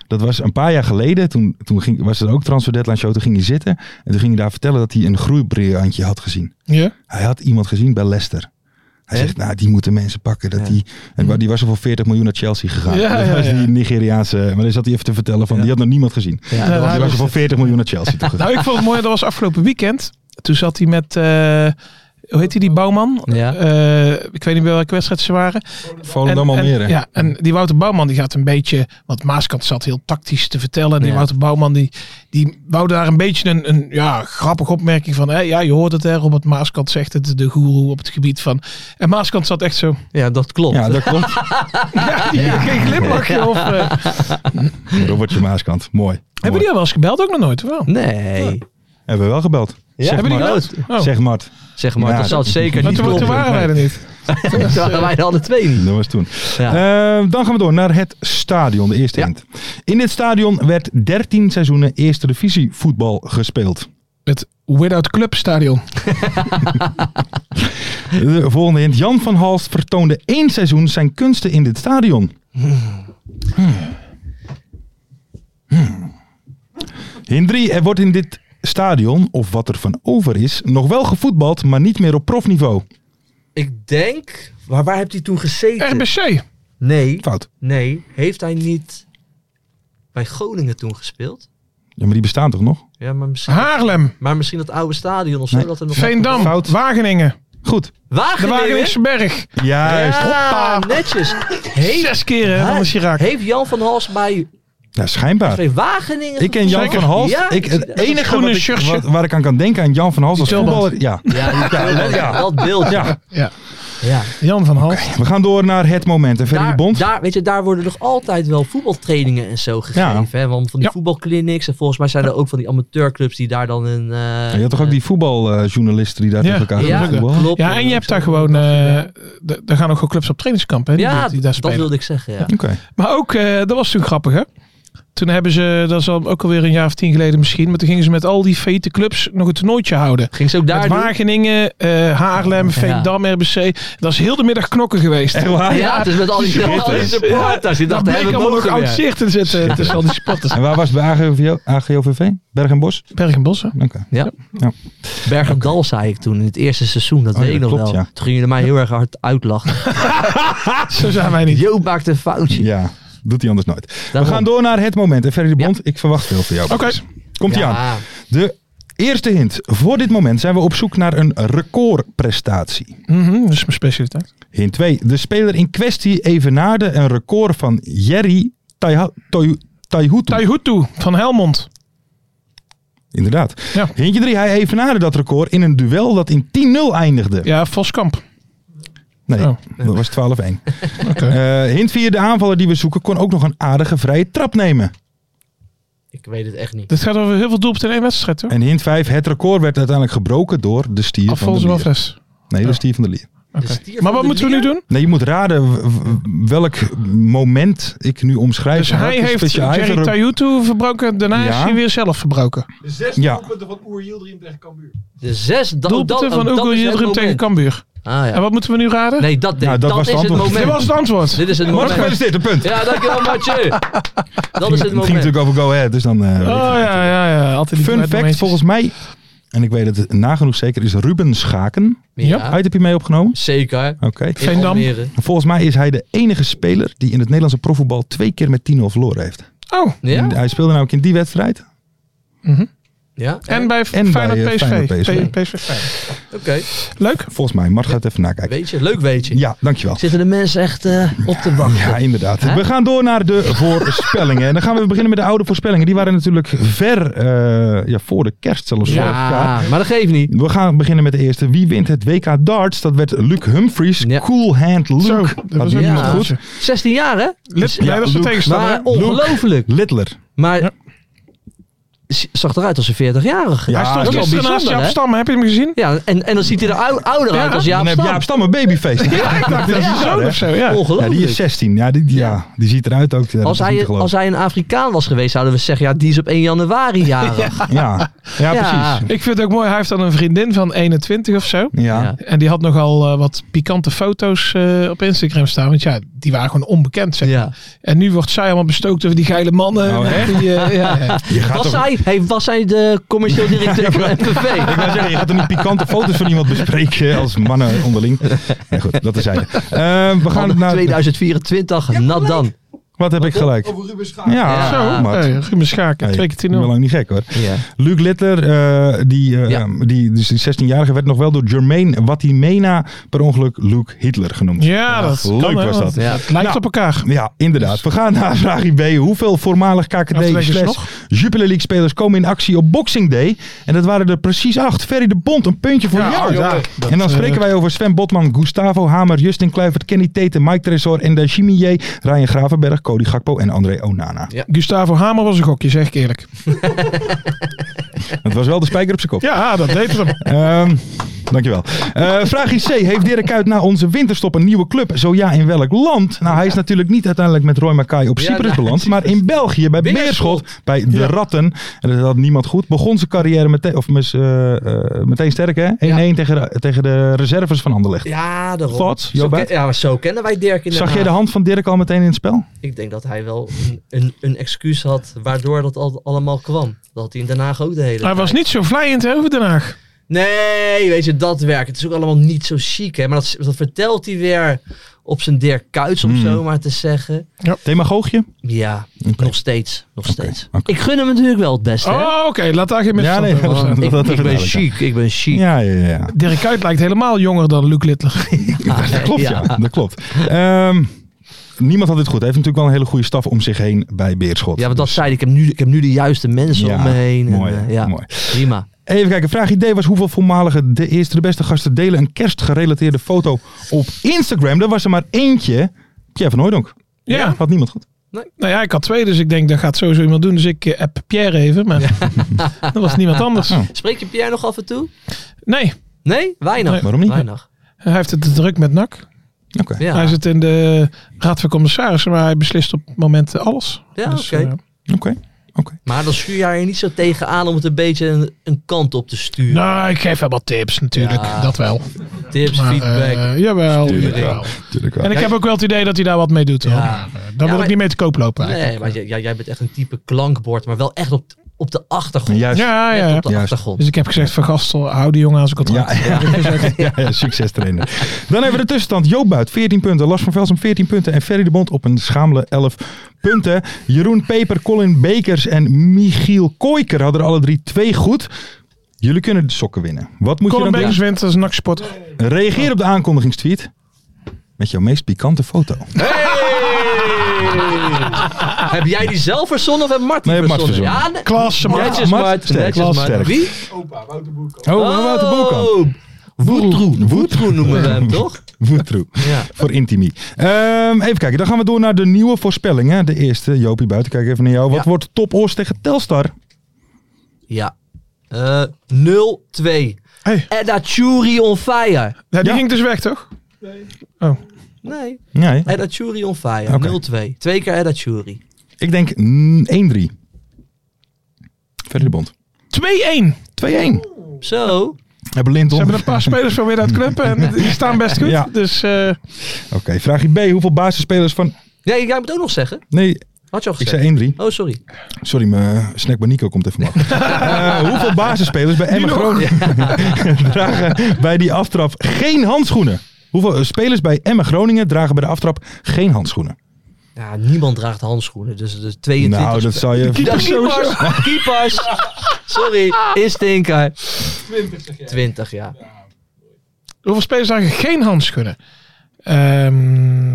Speaker 3: Dat was een paar jaar geleden, toen, toen ging, was er ook transfer deadline show, toen ging hij zitten. En toen ging hij daar vertellen dat hij een groeibriljantje had gezien.
Speaker 5: Ja.
Speaker 3: Hij had iemand gezien bij Leicester. Hij zegt, nou, die moeten mensen pakken. Dat die, en wa- die was er voor 40 miljoen naar Chelsea gegaan.
Speaker 5: Ja,
Speaker 3: dat
Speaker 5: ja,
Speaker 3: was
Speaker 5: ja.
Speaker 3: die Nigeriaanse. Maar daar zat hij even te vertellen van, die had nog niemand gezien.
Speaker 4: Ja,
Speaker 5: Ja,
Speaker 4: dat was-
Speaker 3: Die was er voor 40 miljoen naar Chelsea toe gegaan.
Speaker 5: Nou, ik vond het mooi. Dat was afgelopen weekend. Toen zat hij met... eh, hoe heet hij die bouwman?
Speaker 4: Ja.
Speaker 5: Eh, ik weet niet bij welke wedstrijd ze waren.
Speaker 3: Volendam Almere.
Speaker 5: En, ja, en die Wouter Bouwman die gaat een beetje, want Maaskant zat heel tactisch te vertellen. En die
Speaker 4: Ja.
Speaker 5: Wouter Bouwman die, die wou daar een beetje een, een ja, grappige opmerking van. Hé, ja, je hoort het hè, Robert Maaskant zegt het, de goeroe op het gebied van. En Maaskant zat echt zo.
Speaker 4: ja, dat klopt.
Speaker 3: Ja, dat klopt.
Speaker 5: Ja, die- geen glimlachje. Of, eh,
Speaker 3: Robertje Maaskant. Mooi.
Speaker 5: Hebben
Speaker 3: Mooi.
Speaker 5: die al wel eens gebeld? Ook nog nooit, of wel?
Speaker 4: Nee.
Speaker 3: Hebben we wel gebeld. zeg
Speaker 5: Hebben die
Speaker 3: Mart.
Speaker 5: gebeld? Oh.
Speaker 3: Zeg Mart.
Speaker 4: Zeg maar,
Speaker 3: Ja,
Speaker 4: dat zal
Speaker 3: dat-
Speaker 4: het zeker
Speaker 5: Maar
Speaker 4: niet
Speaker 5: toen, toen
Speaker 4: kloppen.
Speaker 5: waren wij er niet.
Speaker 4: Toen waren wij de alle twee niet.
Speaker 3: Dat was toen.
Speaker 4: Ja.
Speaker 3: Eh, dan gaan we door naar het stadion. De eerste
Speaker 4: Ja.
Speaker 3: hint. In dit stadion werd 13 seizoenen eerste divisie voetbal gespeeld.
Speaker 5: Het Without Club Stadion.
Speaker 3: De volgende hint. Jan van Halst vertoonde één seizoen zijn kunsten in dit stadion. Hmm. Hmm. Hint 3. Er wordt in dit stadion, of wat er van over is, nog wel gevoetbald, maar niet meer op profniveau.
Speaker 4: Ik denk... Waar, waar heeft hij toen gezeten?
Speaker 5: RBC.
Speaker 4: Nee.
Speaker 3: Fout.
Speaker 4: Nee. Heeft hij niet bij Groningen toen gespeeld?
Speaker 3: Ja, maar die bestaan toch nog?
Speaker 4: Ja, maar misschien,
Speaker 5: Haarlem.
Speaker 4: maar misschien dat oude stadion of zo.
Speaker 3: Nee.
Speaker 4: Dat er nog
Speaker 5: Veendam.
Speaker 3: Fout.
Speaker 5: Wageningen.
Speaker 3: Goed.
Speaker 5: De
Speaker 4: Wageningen?
Speaker 5: Wageningse Berg.
Speaker 3: Juist.
Speaker 4: Ja, netjes. Heeft,
Speaker 5: Zes keer, hè, dan is je raak.
Speaker 4: heeft Jan van Hals bij
Speaker 3: Ja, schijnbaar.
Speaker 4: bij Wageningen...
Speaker 3: Ik ken Jan
Speaker 5: Zeker.
Speaker 3: van Hals.
Speaker 4: Ja,
Speaker 3: ik, het
Speaker 4: dat
Speaker 3: enige
Speaker 5: groene
Speaker 3: wat ik,
Speaker 5: shirtje.
Speaker 3: wat- waar ik aan kan denken aan Jan van Hals als
Speaker 5: tulband.
Speaker 3: voetballer. Ja.
Speaker 4: Ja, die Tulband, ja, dat beeld.
Speaker 3: ja.
Speaker 5: Ja.
Speaker 4: Ja.
Speaker 5: Jan van Hals.
Speaker 3: We gaan door naar het moment. En Ferry de
Speaker 4: Daar,
Speaker 3: Bond.
Speaker 4: daar, weet je, daar worden nog altijd wel voetbaltrainingen en zo gegeven. Hè? Want van die
Speaker 5: Ja.
Speaker 4: voetbalclinics. En volgens mij zijn er ook van die amateurclubs die daar dan een... eh,
Speaker 3: Ja, je had toch ook die voetbaljournalisten die daar
Speaker 5: Ja.
Speaker 3: tegen elkaar
Speaker 4: Ja,
Speaker 3: gaan voetballen?
Speaker 4: klopt.
Speaker 5: Ja, en je hebt daar gewoon, eh, d- daar gaan ook gewoon clubs op trainingskamp, hè? die-
Speaker 4: Ja,
Speaker 5: die daar
Speaker 4: dat
Speaker 5: spelen.
Speaker 4: wilde ik zeggen. Ja.
Speaker 3: Oké.
Speaker 5: Maar ook, eh, dat was toen grappig, hè? Toen hebben ze, dat is al ook alweer een jaar of tien geleden misschien, maar toen gingen ze met al die failliete clubs nog een toernooitje houden.
Speaker 4: Ging ze ook daar
Speaker 5: Met
Speaker 4: doen?
Speaker 5: Wageningen, eh, Haarlem, Veendam, RBC. Dat is heel de middag knokken geweest.
Speaker 3: Echt waar?
Speaker 4: Ja, het is met al die al die supporters. Die
Speaker 5: Dat
Speaker 4: dachten,
Speaker 5: bleek
Speaker 4: hebben we
Speaker 5: allemaal nog
Speaker 4: mogen
Speaker 5: oud
Speaker 4: weer.
Speaker 5: zicht in zitten tussen al die spotters.
Speaker 3: En waar was het bij AGOV AGOVV? Berg en Bos?
Speaker 5: Berg en Bossen.
Speaker 3: Oké.
Speaker 4: Ja.
Speaker 3: Ja.
Speaker 4: Berg op Dal zei ik toen in het eerste seizoen. Dat
Speaker 3: Oh,
Speaker 4: weet
Speaker 3: ja,
Speaker 4: ik nog
Speaker 3: klopt,
Speaker 4: wel.
Speaker 3: ja.
Speaker 4: Toen gingen jullie mij heel erg hard uitlachen.
Speaker 5: Zo zijn wij niet.
Speaker 4: Jo maakt een foutje.
Speaker 3: Ja, doet hij anders nooit.
Speaker 4: Daarom.
Speaker 3: We gaan door naar het moment. En Ferry de
Speaker 4: Ja.
Speaker 3: Bond, ik verwacht veel van jou.
Speaker 5: Oké.
Speaker 3: Komt ie aan. De eerste hint. Voor dit moment zijn we op zoek naar een recordprestatie.
Speaker 5: Mhm, dat is mijn specialiteit.
Speaker 3: Hint 2. De speler in kwestie evenaarde een record van Jerry Taiha- Toy- Taihutu.
Speaker 5: Taihutu van Helmond.
Speaker 3: Inderdaad.
Speaker 5: Ja.
Speaker 3: Hintje 3. Hij evenaarde dat record in een duel dat in 10-0 eindigde.
Speaker 5: Ja, Voskamp.
Speaker 3: Nee,
Speaker 5: Oh.
Speaker 3: dat was 12-1.
Speaker 5: Oké.
Speaker 3: Eh, hint 4. De aanvaller die we zoeken kon ook nog een aardige vrije trap nemen.
Speaker 4: Ik weet het echt niet.
Speaker 5: Dit gaat over heel veel doelpunten in één wedstrijd, hoor.
Speaker 3: En hint 5. Het record werd uiteindelijk gebroken door de stier van
Speaker 5: Alfonso
Speaker 3: de Lier.
Speaker 5: Alves.
Speaker 3: Nee, de stier van de Lier.
Speaker 5: Oké. Maar wat moeten we nu doen?
Speaker 3: Nee, je moet raden w- w- welk moment ik nu omschrijf.
Speaker 5: Dus hij
Speaker 3: Welke
Speaker 5: heeft
Speaker 3: speciaal- hij
Speaker 5: Jerry
Speaker 3: heeft er-
Speaker 5: Taihutu verbroken. Daarna is
Speaker 3: Ja.
Speaker 5: hij weer zelf verbroken.
Speaker 3: Ja,
Speaker 4: De zes da-
Speaker 5: Doelpunten
Speaker 4: dat-
Speaker 5: van
Speaker 4: dat
Speaker 5: Ugo
Speaker 4: is het
Speaker 5: Yildirim
Speaker 4: moment.
Speaker 5: tegen Cambuur.
Speaker 4: Ah,
Speaker 5: En
Speaker 4: ja.
Speaker 5: wat moeten we nu raden?
Speaker 4: Nee, dat,
Speaker 3: Ja, dat
Speaker 4: dat,
Speaker 3: was
Speaker 4: is
Speaker 3: het
Speaker 4: het
Speaker 3: antwoord.
Speaker 5: Dit
Speaker 4: moment.
Speaker 5: was het antwoord.
Speaker 4: Dit is het
Speaker 3: maar
Speaker 4: moment.
Speaker 3: gefeliciteerd, een punt.
Speaker 4: Ja, dankjewel Mathieu. Dat is het
Speaker 3: het ging natuurlijk
Speaker 4: moment.
Speaker 3: over Go Ahead, dus dan... eh,
Speaker 5: Oh ja, ja, ja. Altijd die
Speaker 3: Fun
Speaker 5: kleine
Speaker 3: fact,
Speaker 5: momentjes.
Speaker 3: volgens mij, en ik weet het nagenoeg zeker, is Ruben Schaken.
Speaker 4: Ja,
Speaker 3: Uit heb je mee opgenomen?
Speaker 4: zeker.
Speaker 3: Oké.
Speaker 4: In
Speaker 5: Veendam.
Speaker 4: Almere.
Speaker 3: Volgens mij is hij de enige speler die in het Nederlandse profvoetbal twee keer met 10-0 verloren heeft.
Speaker 5: Oh,
Speaker 4: Ja?
Speaker 3: En Hij speelde nou ook in die wedstrijd.
Speaker 4: Ja?
Speaker 5: en bij
Speaker 3: En
Speaker 5: Feyenoord
Speaker 3: bij, eh,
Speaker 5: PSV.
Speaker 3: Feyenoord PSV.
Speaker 5: P- PSV Feyenoord.
Speaker 4: Oké.
Speaker 5: Leuk.
Speaker 3: Volgens mij, Mart gaat even nakijken.
Speaker 4: Weet je, leuk weet je.
Speaker 3: Ja, dankjewel.
Speaker 4: Zitten de mensen echt eh, op te wachten.
Speaker 3: Ja, inderdaad.
Speaker 4: Hè?
Speaker 3: We gaan door naar de voorspellingen. En dan gaan we beginnen met de oude voorspellingen. Die waren natuurlijk ver eh, ja, voor de kerst zelfs.
Speaker 4: Ja,
Speaker 3: vorig jaar.
Speaker 4: maar dat geeft niet.
Speaker 3: We gaan beginnen met de eerste. Wie wint het WK darts? Dat werd Luc Humphries.
Speaker 4: Ja.
Speaker 3: Cool hand Luke.
Speaker 5: Zo,
Speaker 3: dat
Speaker 5: was
Speaker 3: deed
Speaker 5: ook
Speaker 3: hij
Speaker 4: nog
Speaker 3: goed.
Speaker 5: goed.
Speaker 4: 16 jaar hè? Dus-
Speaker 5: Lid, nee, dat is de
Speaker 3: Luke.
Speaker 5: tegenstander.
Speaker 4: Maar
Speaker 5: hè?
Speaker 4: ongelooflijk.
Speaker 3: Littler.
Speaker 4: Maar
Speaker 5: Ja.
Speaker 4: z- zag eruit als een 40-jarige.
Speaker 3: Ja,
Speaker 5: Hij stond
Speaker 4: dat is wel
Speaker 5: gisteren naast
Speaker 4: bijzonder,
Speaker 5: Jaap
Speaker 4: hè?
Speaker 5: Stam. Heb je hem gezien?
Speaker 4: Ja, en, en dan ziet hij er ou- ouder uit als Jaap
Speaker 3: Dan heb
Speaker 4: Stam.
Speaker 3: Jaap Stam een babyface. Ja, ik dacht dat
Speaker 5: Zijn zoon of zo, ja.
Speaker 3: Ja,
Speaker 4: Ongelooflijk.
Speaker 3: die is 16. Ja, die, die- ja, die ziet eruit ook. Ja, dat
Speaker 4: als,
Speaker 3: is niet
Speaker 4: hij,
Speaker 3: te
Speaker 4: als
Speaker 3: geloven.
Speaker 4: hij een Afrikaan was geweest, zouden we zeggen, ja, die is op 1 januari jarig.
Speaker 3: Ja. Ja,
Speaker 4: Ja.
Speaker 3: precies.
Speaker 5: Ik vind het ook mooi. Hij heeft dan een vriendin van 21 of zo.
Speaker 3: Ja.
Speaker 4: Ja.
Speaker 5: En die had nogal eh, wat pikante foto's eh, op Instagram staan. Want ja, die waren gewoon onbekend. Zeg.
Speaker 4: Ja.
Speaker 5: En nu wordt zij allemaal bestookt over die geile mannen.
Speaker 3: Oh, echt?
Speaker 5: Die, eh, ja, ja.
Speaker 3: Je gaat
Speaker 4: Was,
Speaker 3: toch-
Speaker 4: hij, hey, was hij de commercieel directeur van MVV?
Speaker 3: Ik wou zeggen, je gaat er niet pikante foto's van iemand bespreken als mannen onderling. Ja, goed, dat is hij. Eh, we gaan
Speaker 4: Van
Speaker 3: naar...
Speaker 4: 2024, nat dan.
Speaker 3: Wat heb ik gelijk? Ja,
Speaker 4: Ja.
Speaker 3: zo. Maar
Speaker 5: Hey, Ruben Schaken, twee keer 10
Speaker 3: Ik ben lang niet gek hoor.
Speaker 4: Ja.
Speaker 3: Luc Littler, eh, die, eh,
Speaker 4: Ja.
Speaker 3: die, dus die 16-jarige, werd nog wel door Jermaine Watimena per ongeluk Luke Hitler genoemd. Ah,
Speaker 5: Ja, dat
Speaker 3: leuk
Speaker 5: kan, hè,
Speaker 3: was
Speaker 5: want
Speaker 3: dat.
Speaker 4: Ja.
Speaker 5: Het lijkt
Speaker 3: Nou,
Speaker 5: op elkaar.
Speaker 3: Ja, inderdaad. We gaan naar vraag B. Hoeveel voormalig
Speaker 5: Afleggen
Speaker 3: KKD
Speaker 5: ze
Speaker 3: slash
Speaker 5: nog?
Speaker 3: Jupiler League spelers komen in actie op Boxing Day? En dat waren er precies acht. Ferry de Bond, een puntje voor
Speaker 5: oh
Speaker 3: jou. en dan
Speaker 5: eh,
Speaker 3: spreken wij over Sven Botman, Gustavo Hamer, Justin Kluivert, Kenny Tete, Mike Tresor, Enda Chimier, Ryan Gravenberg, Cody Gakpo en André Onana.
Speaker 5: Gustavo Hamer was een gokje, zeg ik eerlijk.
Speaker 3: Het was wel de spijker op zijn kop.
Speaker 5: Ja, dat deed hem.
Speaker 3: Ehm, dankjewel. Eh vraag IC. Heeft Dirk Kuyt na onze winterstop een nieuwe club? Zo ja, in welk land? Nou, hij is natuurlijk niet uiteindelijk met Roy Makai op
Speaker 4: Ja,
Speaker 3: Cyprus
Speaker 4: nou,
Speaker 3: beland. Maar in België, bij
Speaker 4: Beerschot.
Speaker 3: Beerschot, bij De Ratten. En dat had niemand goed. Begon zijn carrière meteen, of mis- eh, eh, meteen sterk, hè? 1-1 tegen, de- tegen de reserves van Anderlecht.
Speaker 4: Ja, daarom.
Speaker 3: Thoughts,
Speaker 4: zo,
Speaker 3: Jobert?
Speaker 4: ken- ja, maar zo kennen wij Dirk in Den
Speaker 3: Zag jij
Speaker 4: Haag.
Speaker 3: de hand van Dirk al meteen in het spel?
Speaker 4: Ik denk dat hij wel een, een, een excuus had waardoor dat al, allemaal kwam. Dat had hij in Den Haag ook de hele
Speaker 5: Hij
Speaker 4: tijd.
Speaker 5: was niet zo vlijend over Den Haag.
Speaker 4: Nee, weet je, dat werkt. Het is ook allemaal niet zo chic, hè. Maar dat, dat vertelt hij weer op zijn Dirk Kuits, om
Speaker 3: Hmm.
Speaker 4: zo maar te zeggen.
Speaker 3: Demagoogje?
Speaker 4: Ja,
Speaker 3: Oké.
Speaker 4: nog steeds. Nog steeds.
Speaker 3: oké.
Speaker 4: Ik gun hem natuurlijk wel het beste, hè.
Speaker 5: Oh, oké. Laat daar geen
Speaker 3: Ja,
Speaker 5: misverstand
Speaker 3: nee.
Speaker 5: over
Speaker 3: dat-
Speaker 4: Want
Speaker 3: dat-
Speaker 4: ik,
Speaker 3: dat
Speaker 4: ik ben
Speaker 3: duidelijk, ja.
Speaker 4: chic, ik ben chic.
Speaker 3: Ja, ja, ja, ja.
Speaker 5: Dirk Kuyt lijkt helemaal jonger dan Luc Littler.
Speaker 4: Ah,
Speaker 3: Dat klopt, ja. Dat klopt. Ehm, niemand had dit goed. Hij heeft natuurlijk wel een hele goede staf om zich heen bij Beerschot. Dus-
Speaker 4: Ja, want dat zei ik. Ik heb nu, ik heb nu de juiste mensen
Speaker 3: Ja,
Speaker 4: om me heen. En,
Speaker 3: mooi, hè?
Speaker 4: eh, ja,
Speaker 3: Mooi.
Speaker 4: prima.
Speaker 3: Even kijken, vraag idee was hoeveel voormalige de eerste de beste gasten delen een kerstgerelateerde foto op Instagram. Er was er maar eentje. Pierre van Hooydonk.
Speaker 5: Ja.
Speaker 3: Had niemand goed.
Speaker 5: Nou ja, ik had twee, dus ik denk dat gaat sowieso iemand doen. Dus ik eh, app Pierre even, maar dat was niemand anders.
Speaker 3: Oh.
Speaker 4: Spreek je Pierre nog af en toe?
Speaker 5: Nee,
Speaker 4: Nee? Weinig.
Speaker 5: Nee,
Speaker 3: waarom niet?
Speaker 4: Weinig.
Speaker 5: hij heeft het te druk met NAC.
Speaker 3: Oké.
Speaker 4: Ja,
Speaker 5: Hij zit in de raad van commissarissen, maar hij beslist op het moment alles.
Speaker 4: ja oké.
Speaker 5: Dus, eh,
Speaker 3: Oké, oké.
Speaker 4: Maar dan schuur jij er niet zo tegen aan om het een beetje een, een kant op te sturen.
Speaker 5: Nou, ik geef wel wat tips natuurlijk.
Speaker 4: Ja.
Speaker 5: Dat wel.
Speaker 4: Tips,
Speaker 5: Maar,
Speaker 4: feedback.
Speaker 5: eh, jawel,
Speaker 3: Tuurlijk
Speaker 5: jawel.
Speaker 3: wel. Tuurlijk wel.
Speaker 5: En ik heb ook wel het idee dat hij daar wat mee doet. hoor.
Speaker 4: Ja.
Speaker 5: Maar, eh, Daar wil
Speaker 4: maar-
Speaker 5: ik niet mee te koop lopen.
Speaker 4: nee,
Speaker 5: eigenlijk.
Speaker 4: maar jij, jij- jij bent echt een type klankbord, maar wel echt op, op de achtergrond.
Speaker 3: Juist.
Speaker 5: Ja, ja,
Speaker 4: Echt
Speaker 5: ja.
Speaker 4: op de
Speaker 3: Juist.
Speaker 4: achtergrond.
Speaker 5: Dus ik heb gezegd van Gastel, hou die jongen aan zijn contract.
Speaker 3: Ja, ja, ja, ja, succes trainer. Dan hebben we de tussenstand. Joop Buit, 14 punten. Lars van Velsen, 14 punten. En Ferry de Bond op een schamele 11 punten. Jeroen Peper, Colin Bekers en Michiel Kooiker hadden er alle drie twee goed. Jullie kunnen de sokken winnen. Wat moet
Speaker 5: Colin
Speaker 3: je dan
Speaker 5: Bekers wint, dat is een naksport.
Speaker 3: doen? Reageer op de aankondigingstweet met jouw meest pikante foto.
Speaker 4: heb jij die zelf verzonnen of heb Martin
Speaker 3: Nee, heb Mart
Speaker 4: Ah. verzonnen?
Speaker 3: verzonnen.
Speaker 4: Ja, nee.
Speaker 5: Klasse, man.
Speaker 4: Netjes,
Speaker 3: Mart
Speaker 4: Mart.
Speaker 3: sterk,
Speaker 4: Netjes,
Speaker 3: Mart
Speaker 4: Mart.
Speaker 3: sterk.
Speaker 4: Wie?
Speaker 3: Oh, Wouter Boelkamp.
Speaker 4: Woetroe. Woetroe noemen we hem, toch?
Speaker 3: Woetroe.
Speaker 4: Ja.
Speaker 3: Voor Intimi. Ehm, even kijken, dan gaan we door naar de nieuwe voorspellingen. De eerste, Jopie Buiten, kijk even naar jou. Wat
Speaker 4: Ja.
Speaker 3: wordt Top Os tegen Telstar?
Speaker 4: Ja. Eh 0-2.
Speaker 5: Hey.
Speaker 4: Edda Churi on fire.
Speaker 5: Ja, die
Speaker 3: Ja.
Speaker 5: ging dus weg, toch? Oh,
Speaker 4: Nee.
Speaker 3: Nee,
Speaker 4: Edda Churi on fire.
Speaker 3: Oké.
Speaker 4: 0-2. Twee keer Edda Churi.
Speaker 3: ik denk mm, 1-3. Verder de Bond.
Speaker 5: 2-1.
Speaker 3: 2-1.
Speaker 4: Zo.
Speaker 3: Hebben Linton.
Speaker 5: Ze hebben een paar spelers van weer uit knuppen en die staan best goed.
Speaker 3: Ja.
Speaker 5: Dus eh,
Speaker 3: Oké, vraagje B. Hoeveel basisspelers van...
Speaker 4: Nee, jij moet ook nog zeggen.
Speaker 3: Nee,
Speaker 4: Had je al
Speaker 3: ik
Speaker 4: gezegd.
Speaker 3: zei 1-3.
Speaker 4: Oh, sorry.
Speaker 3: Sorry, mijn snackbar Nico komt even mag. Eh hoeveel basisspelers bij Emma
Speaker 5: nog?
Speaker 3: Groningen dragen bij die aftrap geen handschoenen? Hoeveel eh, spelers bij Emma Groningen dragen bij de aftrap geen handschoenen?
Speaker 4: Ja, niemand draagt handschoenen, dus de 22.
Speaker 3: nou, dat zou je...
Speaker 4: Dag, keepers. keepers. Sorry, is Tinker. 20 jaar.
Speaker 5: hoeveel spelers zagen geen handschoenen? Ehm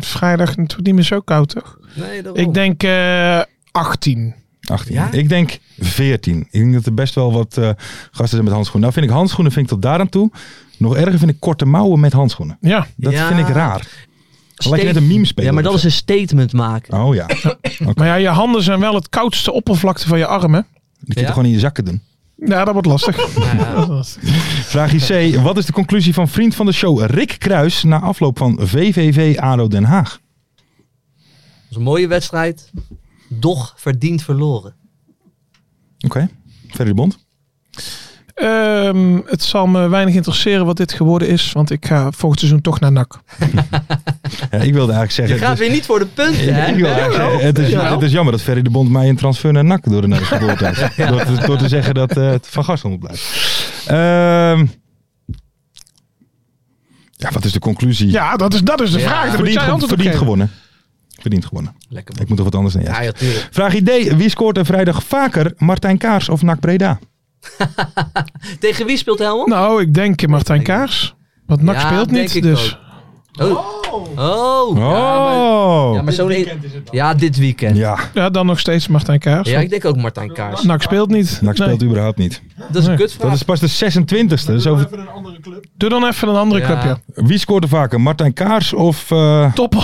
Speaker 5: vrijdag het wordt niet meer zo koud, toch?
Speaker 4: 20 jaar. Nee, daarom.
Speaker 5: Ik denk eh 18.
Speaker 3: 18.
Speaker 4: Ja?
Speaker 3: Ik denk 14. Ik denk dat er best wel wat eh, gasten zijn met handschoenen. Nou vind ik handschoenen vind ik tot daar aan toe. Nog erger vind ik korte mouwen met handschoenen.
Speaker 5: Ja.
Speaker 3: Dat
Speaker 4: Ja.
Speaker 3: vind ik raar. Lijkt je net
Speaker 4: State-
Speaker 3: een meme spelen.
Speaker 4: Ja, maar
Speaker 3: of
Speaker 4: dat is
Speaker 3: zo.
Speaker 4: een statement maken.
Speaker 3: Oh ja.
Speaker 5: Maar ja, je handen zijn wel het koudste oppervlakte van je armen.
Speaker 3: Die kun je
Speaker 4: Ja?
Speaker 3: toch gewoon in je zakken doen.
Speaker 5: Ja, dat wordt lastig.
Speaker 3: Vraagje C. Wat is de conclusie van vriend van de show Rick Kruis na afloop van VVV ADO Den Haag?
Speaker 4: Dat is een mooie wedstrijd. Doch verdient verloren.
Speaker 3: Oké. Verder de Bond.
Speaker 5: Ehm, het zal me weinig interesseren wat dit geworden is, want ik ga volgend seizoen toch naar NAC.
Speaker 3: Ja, dus- ik wilde eigenlijk
Speaker 4: Je
Speaker 3: zeggen...
Speaker 4: gaat
Speaker 3: het is-
Speaker 4: weer niet voor de punten, hè?
Speaker 3: ik wilde eigenlijk zeggen, het, is, het is jammer dat Ferry de Bond mij een transfer naar NAC door de neus geboord heeft. door, te, door te zeggen dat eh, het van Gastel moet blijven. Ehm, ja, wat is de conclusie?
Speaker 5: Ja, dat is, dat is de
Speaker 4: Ja.
Speaker 5: vraag. Daar moet
Speaker 3: verdient,
Speaker 5: jij
Speaker 3: ge-
Speaker 5: antwoord op
Speaker 3: verdient
Speaker 5: geven.
Speaker 3: gewonnen. Verdient gewonnen.
Speaker 4: Lekker man.
Speaker 3: Ik moet toch wat anders dan jij.
Speaker 4: Ja, ja, tuurlijk.
Speaker 3: Vraag idee. Wie scoort er vrijdag vaker? Martijn Kaars of NAC Breda?
Speaker 4: Tegen wie speelt Helmond?
Speaker 5: Nou, ik denk Martijn Kaars. Want NAC
Speaker 4: Ja,
Speaker 5: speelt
Speaker 4: denk
Speaker 5: niet,
Speaker 4: ik
Speaker 5: dus...
Speaker 4: Oh. Oh.
Speaker 3: Oh!
Speaker 4: Ja, maar, ja, maar zo Ja, dit weekend. Ja.
Speaker 3: e- ja.
Speaker 5: Ja, dan nog steeds Martijn Kaars.
Speaker 4: ik denk ook Martijn Kaars.
Speaker 5: NAC speelt niet.
Speaker 3: NAC
Speaker 5: Nee.
Speaker 3: speelt überhaupt niet.
Speaker 4: dat is een kutvraag.
Speaker 3: Dat is pas de 26e. Dus over...
Speaker 5: Doe dan even een andere
Speaker 4: Ja.
Speaker 5: club, ja.
Speaker 3: Wie scoort er vaker? Martijn Kaars of eh,
Speaker 5: Toppel.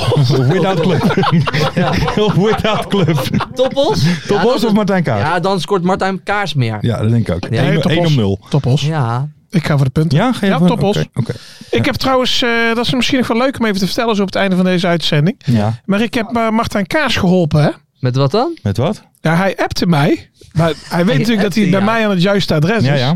Speaker 3: Without Club? of Without Club?
Speaker 4: Toppos?
Speaker 3: Top Bos of Martijn Kaars? Ja,
Speaker 4: Ja, dan scoort Martijn Kaars meer.
Speaker 3: dat denk ik ook.
Speaker 4: Ja,
Speaker 3: Eén-
Speaker 5: Nee, Top
Speaker 3: één
Speaker 5: Os.
Speaker 3: om 0.
Speaker 5: Top Os.
Speaker 4: Ja.
Speaker 5: Ik ga voor de punten.
Speaker 3: Ja, ga je
Speaker 5: Ja,
Speaker 3: voor-
Speaker 5: Top Os.
Speaker 3: Oké. oké.
Speaker 5: Ik heb trouwens, eh, dat is misschien nog wel leuk om even te vertellen zo op het einde van deze uitzending.
Speaker 3: Ja.
Speaker 5: Maar ik heb eh, Martijn Kaars geholpen, hè.
Speaker 4: Met wat dan?
Speaker 3: Met wat?
Speaker 5: Ja, hij appte mij. Maar hij weet natuurlijk dat
Speaker 4: appte
Speaker 5: hij bij
Speaker 4: jou.
Speaker 5: mij aan het juiste adres
Speaker 3: Ja,
Speaker 5: is.
Speaker 3: ja.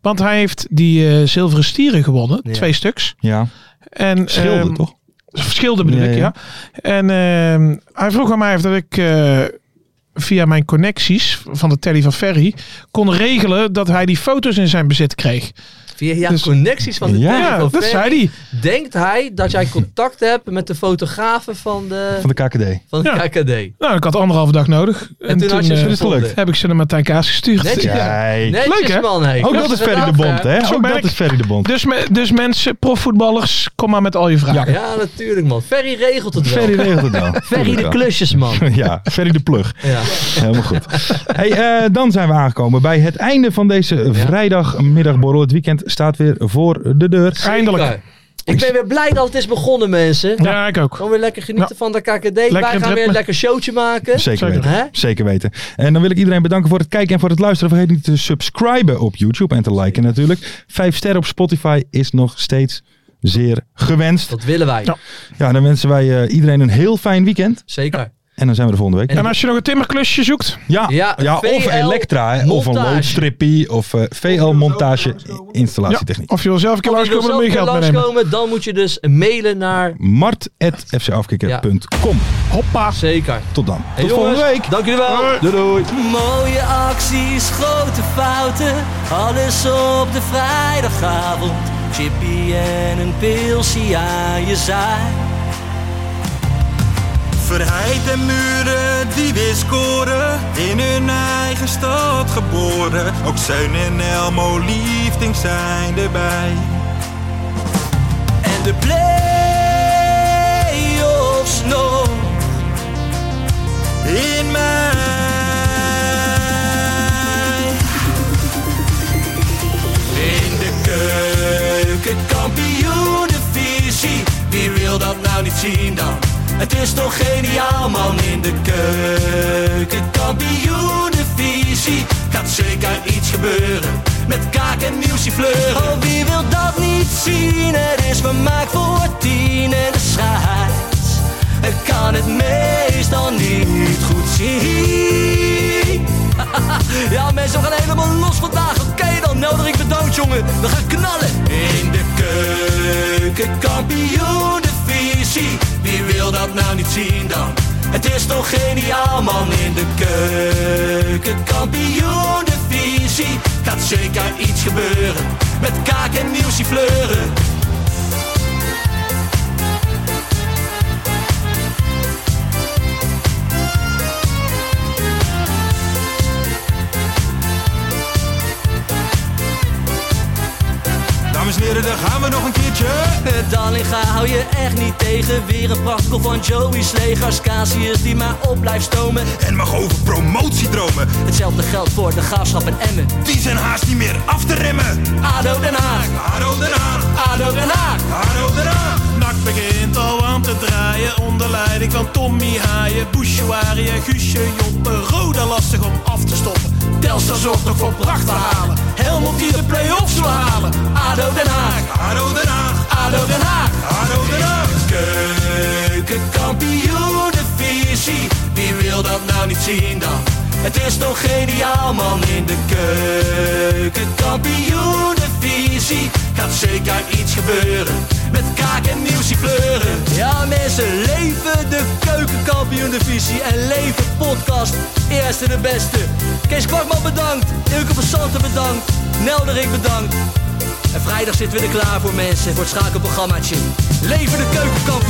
Speaker 5: Want hij heeft die eh, zilveren stieren gewonnen.
Speaker 4: Ja.
Speaker 5: Twee stuks.
Speaker 3: ja.
Speaker 5: En,
Speaker 3: Schilder,
Speaker 5: ehm,
Speaker 3: toch?
Speaker 5: Verschilde bedoel
Speaker 3: Ja,
Speaker 5: ik, ja. En ehm, hij vroeg aan mij of dat ik eh, via mijn connecties van de telly van Ferry kon regelen dat hij die foto's in zijn bezit kreeg.
Speaker 4: Via ja,
Speaker 5: Dus-
Speaker 4: connecties van de
Speaker 3: Ja,
Speaker 4: Telegraaf.
Speaker 5: Ja, dat
Speaker 4: Ferry.
Speaker 5: zei hij.
Speaker 4: Denkt hij dat jij contact hebt met de fotografen van de,
Speaker 3: Van de KKD.
Speaker 4: van de
Speaker 5: Ja.
Speaker 4: KKD?
Speaker 5: Nou, ik had anderhalve dag nodig. En,
Speaker 4: toen had je
Speaker 5: eh,
Speaker 4: ze
Speaker 3: gevonden.
Speaker 5: gelukt. heb ik ze naar Martijn Kaas gestuurd.
Speaker 4: Netjes.
Speaker 5: Ja.
Speaker 3: Kijk.
Speaker 4: Netjes
Speaker 5: Leuk, hè?
Speaker 4: man. hé.
Speaker 3: Ook Oh, dat is Ferry de Bond, hè?
Speaker 5: Zo
Speaker 3: Ook
Speaker 5: ben
Speaker 3: dat
Speaker 5: ik.
Speaker 3: is Ferry de Bond.
Speaker 5: Dus, me- dus mensen, profvoetballers, kom maar met al je vragen.
Speaker 4: Ja, natuurlijk man. Ferry regelt het wel.
Speaker 3: Ferry
Speaker 4: Ferry,
Speaker 3: regelt het wel.
Speaker 4: de klusjes man.
Speaker 3: Ja, Ferry de plug.
Speaker 4: Ja.
Speaker 3: Helemaal goed. Hey, eh, dan zijn we aangekomen bij het einde van deze vrijdagmiddagborrel. Het weekend staat weer voor de deur.
Speaker 5: Eindelijk.
Speaker 4: Oké. Nou, Ik ben weer blij dat het is begonnen mensen.
Speaker 5: Ja, ik ook.
Speaker 4: Gewoon weer lekker genieten van de KKD.
Speaker 5: in
Speaker 4: Wij
Speaker 5: het
Speaker 4: gaan weer
Speaker 5: ritme.
Speaker 4: een lekker showtje maken.
Speaker 3: Zeker
Speaker 5: Zeker.
Speaker 3: weten.
Speaker 4: Hè?
Speaker 3: Zeker weten. En dan wil ik iedereen bedanken voor het kijken en voor het luisteren. Vergeet niet te subscriben op YouTube en te liken natuurlijk. Vijf sterren op Spotify is nog steeds zeer gewenst.
Speaker 4: Dat willen wij.
Speaker 5: Ja.
Speaker 3: Ja, dan wensen wij eh, iedereen een heel fijn weekend.
Speaker 4: Zeker.
Speaker 3: En dan zijn we er volgende week.
Speaker 7: En-
Speaker 5: En als je nog een timmerklusje zoekt,
Speaker 3: Ja, ja,
Speaker 7: Ja,
Speaker 3: of
Speaker 7: VL
Speaker 3: Elektra, hè, of een
Speaker 7: montage.
Speaker 3: loodstrippie, of eh, VL montage installatietechniek.
Speaker 5: of je wil zelf een keer
Speaker 7: Of je wil
Speaker 5: langskomen,
Speaker 7: zelf
Speaker 5: dan
Speaker 7: weer
Speaker 5: moet je geld meenemen.
Speaker 7: langskomen, dan moet je dus mailen naar...
Speaker 3: Mart.fcafkikker.com.
Speaker 5: Hoppa.
Speaker 7: Zeker.
Speaker 3: Tot dan.
Speaker 7: Hey, jongens, Dank jullie wel.
Speaker 3: Doei doei.
Speaker 4: Mooie acties, grote fouten, alles op de vrijdagavond. Chippy en een pilsie aan je zaai.
Speaker 2: Verheid en muren die weer scoren, in hun eigen stad geboren. Ook Zijn en Elmo liefding zijn erbij.
Speaker 4: En de play-offs nog.
Speaker 2: In mij.
Speaker 4: In de keuken, kampioenenvisie. Wie wil dat nou niet zien dan? Het is toch geniaal man in de keuken, kampioenenvisie. Gaat zeker iets gebeuren met kaak en nieuwsie fleuren. Oh, wie wil dat niet zien? Het is vermaakt voor tien en de scheids. Ik kan het meestal niet goed zien. Ja, mensen, we gaan helemaal los vandaag. Oké, dan nodig ik bedankt, jongen. We gaan knallen. In de keuken, kampioenenvisie. Wie wil dat nou niet zien dan? Het is toch geniaal, man. In de keuken, kampioenenvisie. Gaat zeker iets gebeuren. Met kaak en nieuwsie fleuren.
Speaker 2: Dames en heren, daar gaan we nog een keertje.
Speaker 4: Dallinga Eh, hou je echt niet tegen. Weer een prachtkel van Joey's legers. Casius die maar op blijft stomen.
Speaker 2: En mag over promotiedromen,
Speaker 4: Hetzelfde geldt voor de graafschap en Emmen.
Speaker 2: die zijn haast niet meer af te remmen.
Speaker 4: ADO Den Haag,
Speaker 2: Haro eraan,
Speaker 4: ADO Den Haag.
Speaker 2: haro eraan.
Speaker 8: Nak begint al aan te draaien onder leiding van Tommy Haaien, Bouchouari en Guusje Joppen. Roda lastig om af te stoppen.
Speaker 4: Telstar zorgt nog voor pracht te halen. Helmond die de play-offs wil halen. ADO Den Haag,
Speaker 2: Haro eraan,
Speaker 4: ADO Den Haag.
Speaker 2: haro eraan.
Speaker 4: Keukenkampioenenvisie. Wie wil dat nou niet zien dan? Het is toch geniaal man in de keukenkampioenenvisie. Gaat zeker iets gebeuren. Met kaak en nieuwsie kleuren. Ja mensen, leven de keukenkampioenenvisie. En leven podcast. Eerste de beste. Kees Kwakman bedankt. Ilke van Santen bedankt. Nelderik bedankt. En vrijdag zitten we er klaar voor mensen, voor het schakelprogrammaatje. Leven de keukenkamp